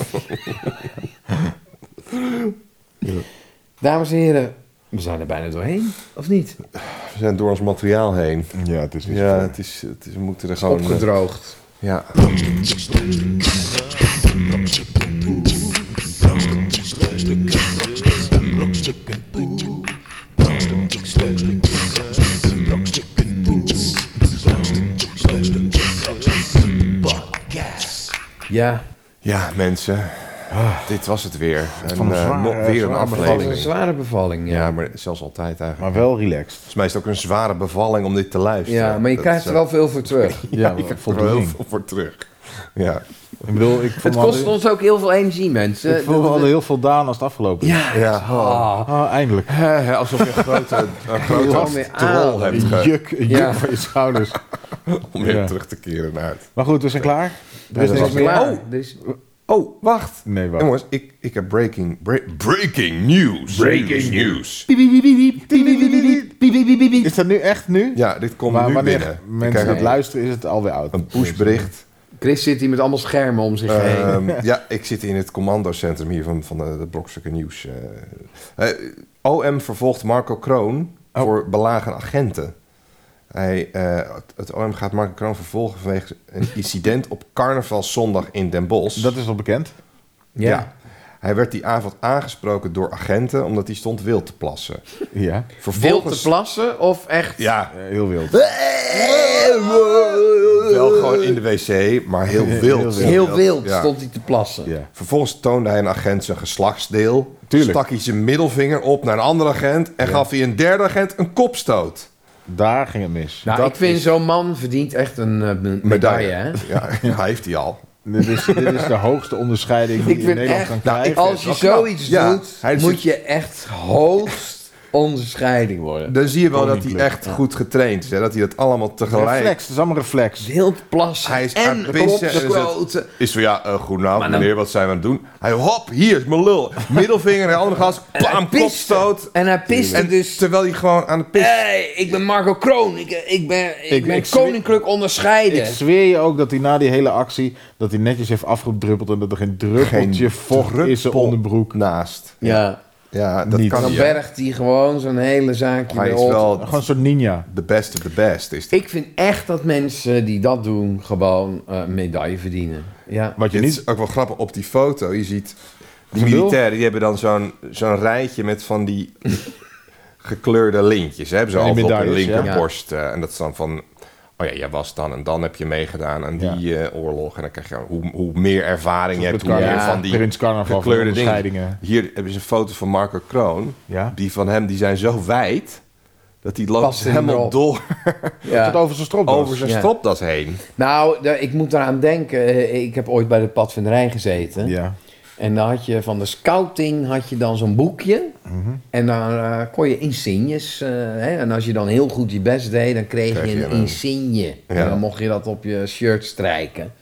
Dames en heren, we zijn er bijna doorheen, of niet?
We zijn door ons materiaal heen.
Ja, het is niet
Ja,
zo.
het is, het is, we moeten er gewoon... eh,
Opgedroogd.
Ja.
Ja,
ja, mensen. Dit was het weer. Een,
een
eh,
zware-
nog weer een
zware
dat was een
aflevering.
zware bevalling.
Ja, maar zelfs altijd eigenlijk.
Maar wel relaxed.
Volgens mij is het ook een zware bevalling om dit te luisteren.
Ja, maar je
Dat
krijgt
is,
er
eh,
wel veel voor terug.
Ja,
ik heb er wel heel
voldoening.
veel voor terug. Ja.
Ik bedoel, ik voel
Het
me
kost
al-
ons ook heel veel energie, mensen.
Ik voel me al heel voldaan als het afgelopen is.
Ja,
eh, Ja. Oh,
ah.
Ah, eindelijk.
Eh, alsof je een grote, een
Gewoon
grote
weer
troll
aan.
hebt
Een
ge-
juk, een juk
Ja.
van je schouders.
om weer
Ja.
terug te keren naar het...
Maar goed, we zijn klaar. Er is
dat
niks
was
meer.
Klaar. Er is-
Oh, wacht.
Nee, wacht.
Jongens, ik, ik heb breaking, bre- breaking news. Breaking news.
Is dat nu echt nu?
Ja, dit komt
maar
nu
wanneer
binnen. Ik
mensen
krijg
het luisteren, is het alweer oud.
een pushbericht.
Chris zit hier met allemaal schermen om zich heen.
Ehm, ja, ik zit in het commandocentrum hier van, van de, de Brokstukken Nieuws. eh. Eh, OM vervolgt Marco Kroon
Oh.
voor belagen agenten. Hij, eh, het, het OM gaat Marco Kroon vervolgen vanwege een incident op carnavalszondag in Den Bosch.
Dat is al bekend.
ja. Hij werd die avond aangesproken door agenten omdat hij stond wild te plassen.
Ja,
Wild te plassen of echt...
Ja,
eh, heel wild.
Eh, Wel gewoon in de wc, maar heel wild.
Heel wild
Ja.
stond hij te plassen.
Ja.
Vervolgens toonde hij een agent zijn geslachtsdeel.
Tuurlijk.
Stak hij zijn middelvinger op naar een andere agent. En gaf hij een derde agent een kopstoot.
Daar ging het mis.
Nou,
Dat
ik vind
is-
zo'n man verdient echt een eh, me- medaille. hè?
Ja, hij heeft die al.
Dit is, dit is de hoogste onderscheiding die je
Ik
in
vind
Nederland
echt,
kan
nou,
krijgen.
ik-
als je
vind het wel
zoiets
knap. Ja,
doet,
hij
moet
zit-
je echt hoogst onderscheiding worden.
Dan zie je wel dat hij echt goed getraind is. Hè? Dat hij dat allemaal tegelijk...
Reflex, het is allemaal reflex.
Wild plassen
Hij is aan het
en
pissen en zegt-
opstoten.
Is van, ja, eh goedenavond meneer, wat zijn we aan het doen? Hij, hop, hier is mijn lul. Middelvinger en de andere gast. Bam,
piste.
kopstoot.
En hij piste
En
dus...
terwijl hij gewoon aan het pissen...
Hey, ik ben Marco Kroon. Ik, eh, ik ben, ik
Ik-
ben
ik zweer-
koninklijk onderscheiden.
Ik zweer je ook dat hij na die hele actie... dat hij netjes heeft afgedruppeld en dat er geen druppeltje vocht is zijn
druppel Nou,
onderbroek.
naast.
ja.
Ja, dat
Niet.
kan
Dan
niet.
bergt hij gewoon zo'n hele zaakje
Hij is
erop.
wel
Gewoon een soort ninja.
de best of the best. Is die.
Ik vind echt dat mensen die dat doen gewoon eh, een medaille verdienen. Ja.
Wat je
Dit
niet...
is ook wel grappig op die foto. Je ziet die
Zo'n lul?
militairen, die hebben dan zo'n zo'n rijtje met van die gekleurde lintjes. Hè? Hebben ze
Ja, die
altijd op hun
medailles, ja.
linkerborst. eh, en dat is dan van, oh ja, jij was dan en dan heb je meegedaan aan
Ja.
die eh, oorlog. En dan krijg je hoe, hoe meer ervaring je hebt, hoe
Prins
meer
Carnaval-
van die
Prins Carnaval van
gekleurde dingen.
onderscheidingen.
Hier hebben ze een foto van Marco Kroon.
Ja.
Die van hem, die zijn zo wijd, dat die loopt
Past er niet meer
helemaal
op.
door
Ja.
Tot over zijn strop.
over zijn
Ja.
stropdas heen.
Nou, daar- ik moet eraan denken. eh, Ik heb ooit bij de padvinderij gezeten.
Ja.
En dan had je van de scouting had je dan zo'n boekje.
Mhm.
En dan eh, kon je insignes. eh, hè? En als je dan heel goed je best deed, dan kreeg,
Kreeg
je
je
een
een-
insigne. En
Ja.
dan mocht je dat op je shirt strijken.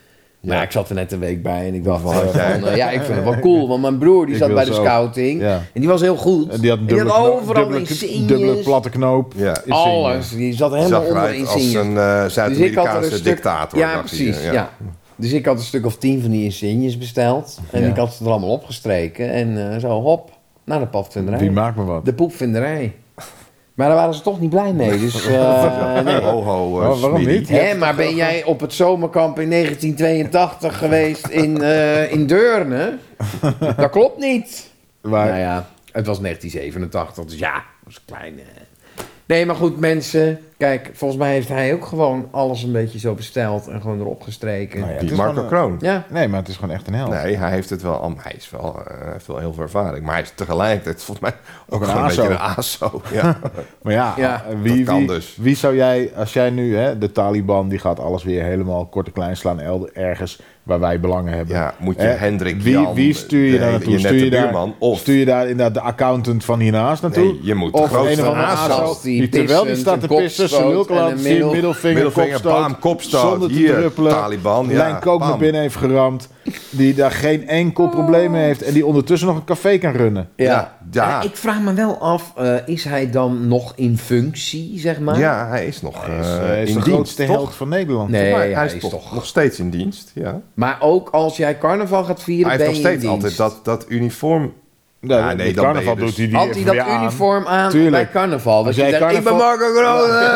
Maar ik zat er net een week bij en ik dacht van,
Wat had jij?
van, eh, ja, ik vind het wel cool. Want mijn broer die
Ik
zat
wil
bij de
zo.
scouting.
Ja.
En die was heel goed.
En die had een dubbele, knoop-
overal
dubbele,
insignes.
dubbele platte knoop.
Ja.
Insignes.
alles. Die zat helemaal
Zag
onder
eruit als
insignes.
een eh,
Dus ik had er
Zuid-Amerikaanse
een stuk-
dictator.
Ja,
dacht hij.
precies. Ja. Dus ik had een stuk of tien van die insignes besteld. En
Ja.
ik had ze er allemaal opgestreken. En eh, zo, hop, naar de padvinderij.
Wie maakt me wat?
De poepvinderij. Maar daar waren ze toch niet blij mee. Dus, eh, nee.
Ho, ho, eh,
Oh, waarom
Smiddy.
niet?
Hè, maar ben jij op het zomerkamp in 1982 geweest in, eh, in Deurne? Dat klopt niet.
Waar-
Nou ja, het was 1987, dus ja, dat was een klein. eh. Nee, maar goed, mensen. Kijk, volgens mij heeft hij ook gewoon alles een beetje zo besteld en gewoon erop gestreken.
Nou ja, het
Die
is
Marco
gewoon een-
Kroon.
Ja,
Nee, maar het is gewoon echt een held.
Nee, hij heeft het wel. am- Hij is wel eh, heeft wel heel veel ervaring. Maar hij is tegelijkertijd volgens mij ook,
een
gewoon een
ASO.
beetje een ASO. Ja.
Maar ja, eh,
Ja,
dat
wie,
kan
wie,
dus.
wie zou jij, als jij nu, hè, de Taliban, die gaat alles weer helemaal kort en klein slaan el- ergens waar wij belangen hebben.
Ja, moet je
Hè,
Hendrik,
wie,
Jan,
wie stuur je
de
daar
hele-
naartoe?
je
stuur,
nette
je daar,
buurman, of-
stuur je daar inderdaad de accountant van hiernaast naartoe?
Nee, je moet de
of
grootste
een of andere
haast
ASO
als die
die terwijl die
pissend
staat te
een
pissen, zijn
kopstoot
lul kan
en
laten
een
zien,
middel-
middelvinger,
middelvinger,
kopstoot,
baam, kopstoot,
zonder te
hier,
druppelen,
Taliban, ja,
lijn kook naar
bam.
binnen heeft geramd, die daar geen enkel probleem mee heeft en die ondertussen nog een café kan runnen.
Oh. ja.
Ja, ja.
Eh, Ik vraag me wel af, eh, is hij dan nog in functie, zeg maar?
ja, hij is nog
Hij is,
eh,
eh, hij is
in
de
dienst,
grootste
toch?
held van Nederland.
Nee,
Maar
hij, is toch.
nog steeds in dienst. Ja.
Maar ook als jij carnaval gaat vieren,
Hij heeft
ben
nog
je in
steeds
dienst.
altijd dat, dat uniform.
Ja,
Ja, nee,
nee,
dan ben
carnaval
je dus-
doet hij die
Had hij
even
dat
weer aan.
uniform aan
Tuurlijk.
bij carnaval? Dat
Als
je
jij
zegt, ik ben
carnaval-
Marco Groot.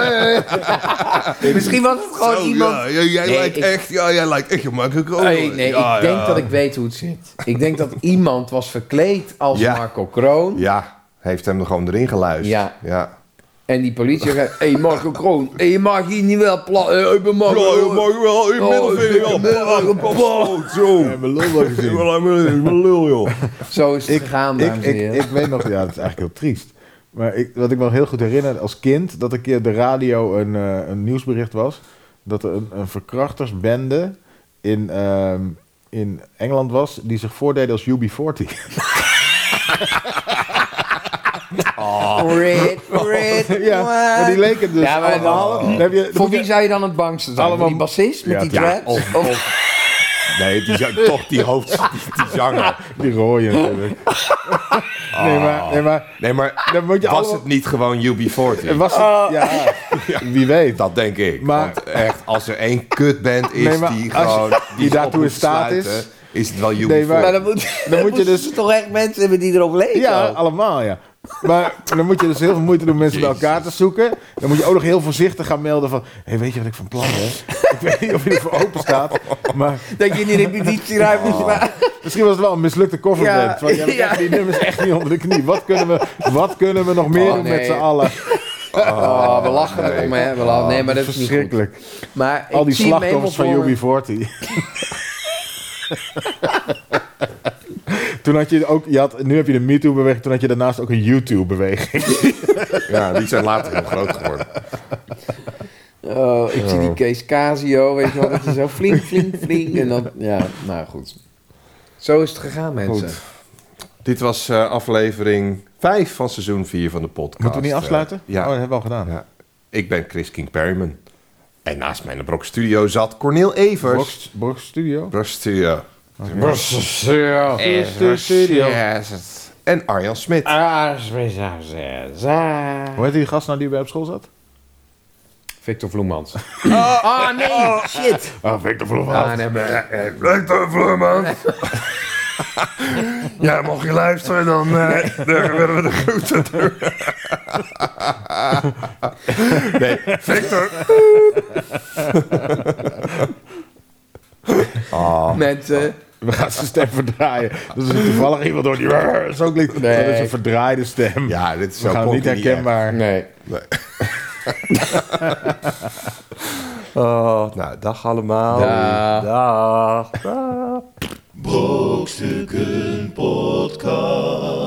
Misschien was het gewoon iemand...
Oh, jij
Nee, lijkt ik-
echt, ja, jij lijkt echt gemakkelijk.
Nee, nee, ik denk dat ik weet hoe het zit. Ik denk dat iemand was verkleed als
Ja.
Marco Kroon.
Ja, heeft hem er gewoon erin geluisterd.
Ja.
ja.
En die politie zegt, hé hey Marco Kroon, hey, je mag hier niet wel plat... eh, ik ben
Oh,
Marco Kroon. Oh,
wel, ik Oh,
Ah, Ja, mijn lul wel gezien.
Zo is het gegaan,
ik,
dames en
ik,
heren.
ik weet nog, ja, dat is eigenlijk heel triest. Maar ik, wat ik me nog heel goed herinner als kind, dat een keer op de radio een, eh, een nieuwsbericht was. Dat er een, een verkrachtersbende in, ehm, in Engeland was, die zich voordeden als UB40.
Red, red,
Ah. ja, maar die leken dus
Ja, maar Oh. dan-
allemaal... Dan heb je- dan
Voor
moet je-
wie zou je dan het bangste zijn? Allemaal...
Allemaal-
Die bassist met
Ja,
die
ja,
traps? Of-
Oh.
Nee, die, zang- toch die hoofd, die, die zanger.
Die rooien natuurlijk. nee, maar, nee, maar
Nee, maar
dan moet je
was
allemaal...
het niet gewoon UB40?
Het was het- ja, wie weet.
Dat denk ik.
Maar-
Want echt, als er één kutband is
Nee, maar
die
als je-
gewoon...
die
ze
daartoe
op
in
moet
staat
sluiten,
is.
Is het wel UB40?
Nee, maar-
Maar dan moet,
Dan moet je
moesten
dus-
ze toch echt mensen hebben die erop leven.
Ja, allemaal, ja. Maar dan moet je dus heel veel moeite doen om mensen bij elkaar te zoeken. Dan moet je ook nog heel voorzichtig gaan melden van... Hé, hey, weet je wat ik van plan ben? ik weet niet of je ervoor open staat. Maar
Dat je in die repetitieruimte
Oh.
staat.
misschien was het wel een mislukte cover
Ja,
band. Want jij hebt
ja.
echt die nummers echt niet onder de knie. Wat kunnen we, wat kunnen we nog meer
Oh,
doen
nee.
met z'n allen?
Oh, we lachen erom, hè. We lachen. Nee, maar dat is niet goed.
Verschrikkelijk.
Maar ik
Al die
zie hem
slachtoffers van
helemaal voor me.
UB40. Toen had je ook, je had, nu heb je de MeToo-beweging, toen had je daarnaast ook een YouTube-beweging.
Ja, die zijn later heel groot geworden.
Oh, ik zie die Kees Casio, weet je wel. Dat is zo flink, flink, flink. En dan, ja, nou goed. Zo is het gegaan, mensen.
Goed. Dit was eh, aflevering 5 van seizoen 4 van de podcast.
Moeten we niet
Eh,
afsluiten?
ja.
Oh, dat hebben we al gedaan.
Ja. Ik ben Chris King Perryman. En naast mij in de Brok Studio zat Cornel Evers.
Brox, Brox Studio.
Brok Studio.
Studio.
En Arjan Smit.
Ah. Hoe heet die gast nou die bij op school zat?
Victor Vloemans. Oh, nee, shit.
Ah, Victor Vloeman.
Ah, nee, maar-
Leuk toch, Vloerman? ja, mocht je luisteren, dan eh, dan willen we de groeten doen.
Nee.
Victor,
Mensen,
We gaan zijn stem verdraaien. Dat is toevallig iemand door die... Zo klinkt
Nee.
Dat is een verdraaide stem.
Ja, dit is
We
zo
gaan hem niet
klonk hij
herkenbaar.
nee.
echt. Oh, nou, dag allemaal.
Dag.
Dag. Dag.
Brokstukken Podcast.